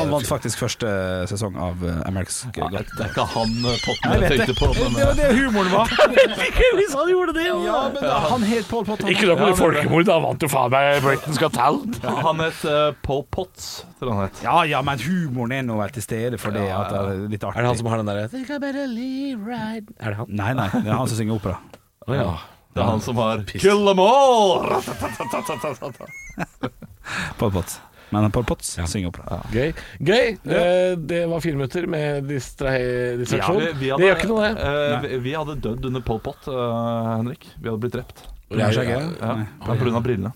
Speaker 4: Han vant faktisk første sesong av eh, America's
Speaker 3: Ja,
Speaker 4: Got
Speaker 3: det
Speaker 4: Talent.
Speaker 3: er ikke han eh, Potten jeg
Speaker 4: Jeg vet
Speaker 3: tenkte på. Men, eh,
Speaker 4: Det var det humoren var.
Speaker 5: Hvis han gjorde det,
Speaker 4: Ja, men da, han het Pål Pott. han.
Speaker 5: Ikke nok med folkemord, han vant jo faen meg Britain's Got Talent.
Speaker 3: Ja, Han het eh, Paul Potts, tror jeg han het.
Speaker 4: Ja, ja, men humoren er nå vel til stede for det at det er litt artig.
Speaker 5: Er det han som har den derre Think I better leave right Er det han?
Speaker 4: Nei, nei. Det er han som synger opera.
Speaker 5: Å ja.
Speaker 3: Det er han som har Kill them all!
Speaker 4: Pål Pott. Men Pål Pott synger opera.
Speaker 5: Gøy. Gøy. Eh, det var fire minutter med distra- distraksjon. det gjør ikke noe, det.
Speaker 3: eh, vi- vi hadde dødd under Paul Pott, eh, Henrik. Vi hadde blitt drept.
Speaker 4: Bjørn Skjegge,
Speaker 3: Ja,
Speaker 4: Nei.
Speaker 3: på grunn av brillene.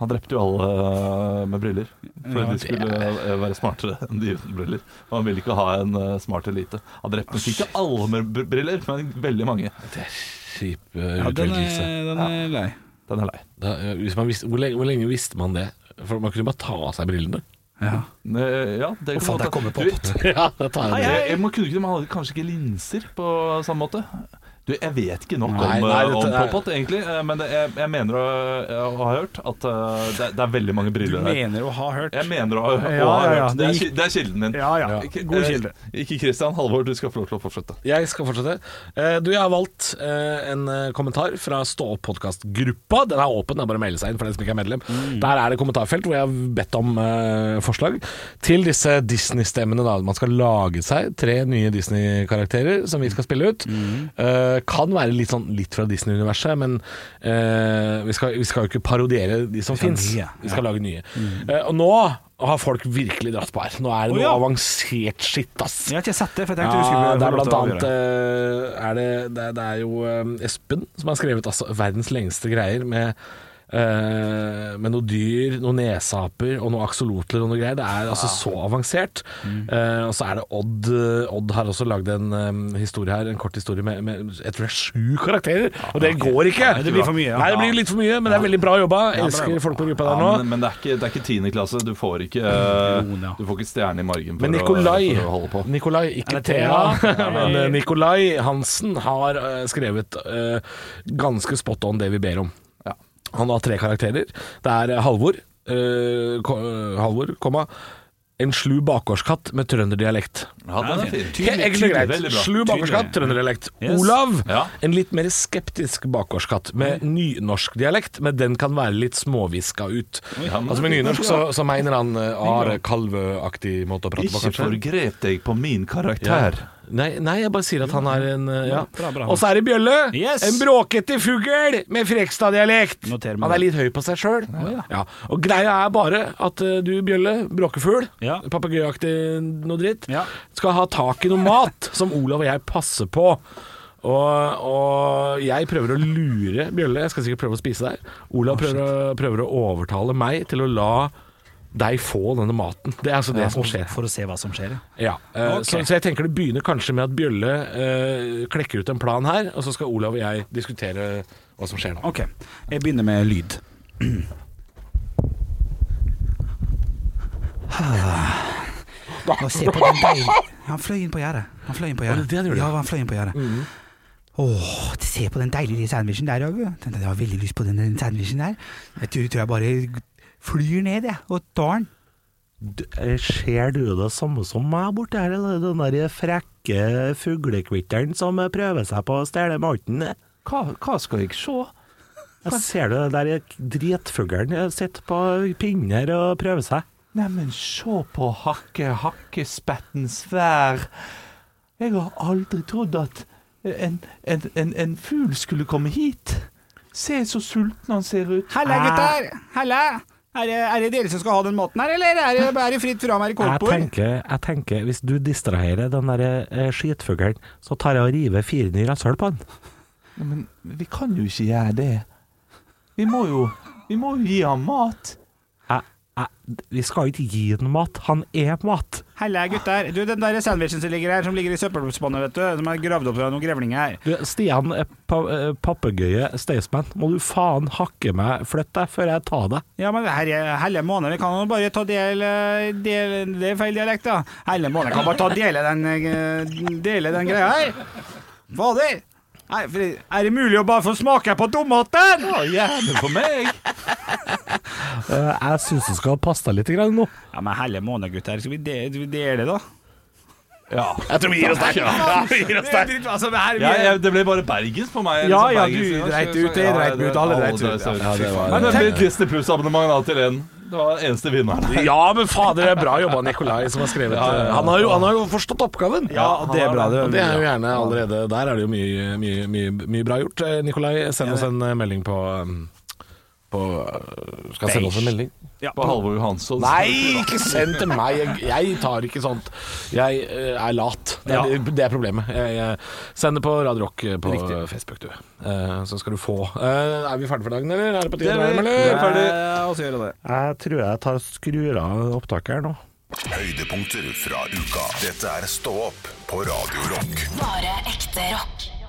Speaker 3: Han drepte jo alle eh, med briller, for de skulle eh, være smartere enn de uten briller. Og han ville ikke ha en eh, smart elite. Han drepte nok ikke alle med br- briller, men veldig mange.
Speaker 5: Kjip
Speaker 4: Ja, den er, den er lei.
Speaker 3: Den er lei.
Speaker 5: eh, hvis man visste, hvor, lenge, hvor lenge visste man det? For Man kunne bare ta av seg brillene.
Speaker 4: Ja.
Speaker 3: Eh, Ja, det kan godt- Du,
Speaker 5: ja, da tar
Speaker 3: Hei,
Speaker 5: jeg det.
Speaker 3: hei. Man kunne ikke, man hadde kanskje ikke linser på samme måte. Du, Jeg vet ikke nok
Speaker 5: Nei,
Speaker 3: om,
Speaker 5: nei,
Speaker 3: eh,
Speaker 5: dette
Speaker 3: om
Speaker 5: er-
Speaker 3: Pop-Pop, egentlig, eh, men det, jeg, jeg mener å, å ha hørt at eh, det, det er veldig mange
Speaker 4: Du
Speaker 3: briller der.
Speaker 4: mener å ha hørt
Speaker 3: Jeg mener å, å
Speaker 4: Ja,
Speaker 3: ha
Speaker 4: ja, ja.
Speaker 3: hørt. Det er,
Speaker 4: Det
Speaker 3: ki- det er kilden din.
Speaker 4: Ja, ja.
Speaker 3: Ikke-
Speaker 4: God
Speaker 3: eh,
Speaker 4: kilde.
Speaker 3: Ikke Christian. Halvor, du skal få lov til å fortsette.
Speaker 5: Jeg skal fortsette. Eh, Du, jeg har valgt eh, en eh, kommentar fra Stå opp-podkastgruppa. Den er åpen, det er bare å melde seg inn for den som ikke er medlem.
Speaker 4: Mm.
Speaker 5: Der er det kommentarfelt hvor jeg har bedt om eh, forslag til disse Disney-stemmene. da. Man skal lage seg tre nye Disney-karakterer som vi skal spille ut.
Speaker 4: Mm.
Speaker 5: Eh, Kan være litt sånn litt fra Disney-universet, men eh, vi skal, vi skal jo ikke parodiere de som fins.
Speaker 4: nye, Mm.
Speaker 5: Vi skal lage nye. Eh, Og nå har folk virkelig dratt på her. Nå er
Speaker 4: Å,
Speaker 5: det noe
Speaker 4: ja.
Speaker 5: avansert skitt, ass.
Speaker 4: Jeg har ikke sett det, for jeg tenkte du
Speaker 5: Ja,
Speaker 4: skulle
Speaker 5: det er
Speaker 4: få lov
Speaker 5: blant
Speaker 4: til å
Speaker 5: annet
Speaker 4: avgjøre.
Speaker 5: eh, er det, det, er- det er jo eh, Espen som har skrevet altså, verdens lengste greier med eh, med noe dyr, noen nesaper og noen aksolotler og noe greier. Det er altså
Speaker 4: Ah.
Speaker 5: så avansert.
Speaker 4: Mm.
Speaker 5: Eh, og så er det Odd. eh, Odd har også lagd en eh, historie her, en kort historie med, med jeg tror det er sju karakterer, og det går ikke!
Speaker 4: Ah, det blir for mye, ja.
Speaker 5: Nei, det blir litt for mye, men det er veldig bra jobba.
Speaker 4: bra jobba.
Speaker 5: Elsker folk på gruppa
Speaker 3: Ja,
Speaker 5: der nå.
Speaker 3: men men det, er ikke, det er ikke tiende klasse. Du får ikke, eh,
Speaker 4: Jo, da.
Speaker 3: du får ikke stjerne i margen for,
Speaker 5: Men
Speaker 3: å,
Speaker 5: Nikolai,
Speaker 3: for å holde på.
Speaker 5: Nikolai ikke
Speaker 4: Eller
Speaker 5: Thea,
Speaker 4: Thea.
Speaker 5: men eh, Nikolai Hansen har eh, skrevet eh, ganske spot on det vi ber om.
Speaker 3: Ja.
Speaker 5: Han har tre karakterer. Det er eh, Halvor, eh, ko- eh, Halvor, komma En slu bakgårdskatt med trønderdialekt.
Speaker 3: Ja, den er fin.
Speaker 5: Helt enkelt og greit.
Speaker 3: veldig bra.
Speaker 5: Slu bakgårdskatt, trønderdialekt.
Speaker 4: Yes.
Speaker 5: Olav,
Speaker 3: Ja. Mm.
Speaker 5: en litt mer skeptisk bakgårdskatt med nynorsk dialekt, men den kan være litt småviska ut. Altså Med nynorsk så, så mener han eh, Are Kalvø-aktig måte å prate på,
Speaker 3: Ikke
Speaker 5: kanskje.
Speaker 3: forgrep deg på min karakter.
Speaker 5: Nei, nei, jeg bare sier at han er en eh, ja.
Speaker 4: Bra, bra.
Speaker 5: Og så er det Bjølle.
Speaker 4: Yes.
Speaker 5: En bråkete fugl med Frekstad-dialekt.
Speaker 4: Noter meg
Speaker 5: Han
Speaker 4: det.
Speaker 5: er litt høy på seg sjøl.
Speaker 4: ja.
Speaker 5: Og greia er bare at eh, du, Bjølle, bråkefugl,
Speaker 4: Ja.
Speaker 5: papegøyeaktig noe dritt,
Speaker 4: Ja.
Speaker 5: skal ha tak i noe mat som Olav og jeg passer på. Og, og jeg prøver å lure Bjølle. Jeg skal sikkert prøve å spise deg. Olav prøver, å, prøver å overtale meg til å la deg få denne maten. Det er altså det som skjer.
Speaker 4: For å se hva som skjer. ja.
Speaker 5: Ja, eh,
Speaker 4: Ok.
Speaker 5: så, så jeg tenker det begynner kanskje med at Bjølle eh, klekker ut en plan her, og så skal Olav og jeg diskutere hva som skjer nå.
Speaker 4: Ok, jeg begynner med lyd. Ah, Og se på den deilige Han fløy inn på gjerdet. Han fløy inn på
Speaker 5: Var det
Speaker 4: gjerdet.
Speaker 5: det han gjorde?
Speaker 4: Ja, han fløy inn på gjerdet. Åh, se på den deilige sandwichen der, Åge. Jeg har veldig lyst på den, den sandwichen der. Jeg tror, tror jeg bare flyr ned, jeg, og tar den.
Speaker 6: eh, Ser du det samme som meg borti her, eller den der frekke fuglekvitteren som prøver seg på å stjele maten?
Speaker 3: Hva, hva skal jeg se?
Speaker 6: Jeg Ser du den der dritfuglen eh, sitter på pinner og prøver seg?
Speaker 3: Neimen, se på hakke, hakkespettens vær. Jeg har aldri trodd at en, en, en, en fugl skulle komme hit. Se så sulten han ser ut.
Speaker 4: Halla, gutter! Halla! Er det, dere som skal ha den maten her, eller er det, fritt fram her i
Speaker 6: Jeg tenker, jeg tenker, hvis du distraherer den der eh, skitfuglen, så tar jeg og river firen i rasshøl på den.
Speaker 3: Nei, Men vi kan jo ikke gjøre det. Vi må jo, vi må jo gi ham mat.
Speaker 6: Jeg, jeg, vi skal ikke gi den mat, han er mat.
Speaker 4: Halla, gutter. Du, den der sandwichen som ligger her, som ligger i søppelspannet, vet du, som er gravd opp av noen grevlinger her.
Speaker 6: Du, Stian, eh, pa, eh, papegøye Staysman, må du faen hakke meg, flytt deg før jeg tar deg.
Speaker 4: Ja, men herre, helle måned, vi kan jo bare ta del, eh, del Det er feil dialekt, da. Helle måned kan bare ta dele den, eh, dele den greia her. Fader! Er, er det mulig å bare få smake på tomaten?
Speaker 3: Ja, gjerne for meg.
Speaker 6: Eh, Jeg syns du skal passe deg litt grann nå.
Speaker 4: Ja, men helle måned, gutter. Skal vi de- vi dele, da?
Speaker 3: Ja.
Speaker 5: Jeg tror vi gir oss der. Ja, vi gir oss der.
Speaker 4: Det er dritt, altså, her, vi
Speaker 3: Ja,
Speaker 4: er-
Speaker 3: ja, det ble bare Bergens for meg.
Speaker 4: Ja,
Speaker 3: Liksom,
Speaker 4: ja,
Speaker 3: Bergens,
Speaker 4: du
Speaker 3: ja,
Speaker 4: dreit
Speaker 3: så-
Speaker 4: ut, jeg
Speaker 3: ja,
Speaker 4: dreit meg ut, alle dreit ut.
Speaker 3: dreit ut.
Speaker 5: Ja, det var-
Speaker 3: Men det blir Disney Pluss-abonnement da til en. Det var eneste vinneren.
Speaker 5: Ja, men fader, det er bra jobba Nikolai som har skrevet eh, Han, har jo, han har jo forstått oppgaven.
Speaker 4: Ja, det er bra. Det,
Speaker 5: Og det er jo gjerne allerede Der er det jo mye, mye, mye, mye bra gjort. Eh, Nikolai, send oss en eh, melding på um, på, eh, skal jeg sende oss en melding?
Speaker 3: På Halvor Johansson.
Speaker 5: Nei, ikke send til meg! Jeg, jeg tar ikke sånt. Jeg eh, er lat. Det er, det er problemet. Jeg, jeg sender på Radio Rock eh, på Facebook, du. Eh, så skal du få. Eh, er vi ferdige for dagen, eller? Er det på tide å dra hjem, eller?
Speaker 6: Jeg tror jeg tar og skrur av opptaket her nå.
Speaker 1: Høydepunkter fra uka. Dette er Stå opp på Radio Rock.
Speaker 2: Bare ekte rock.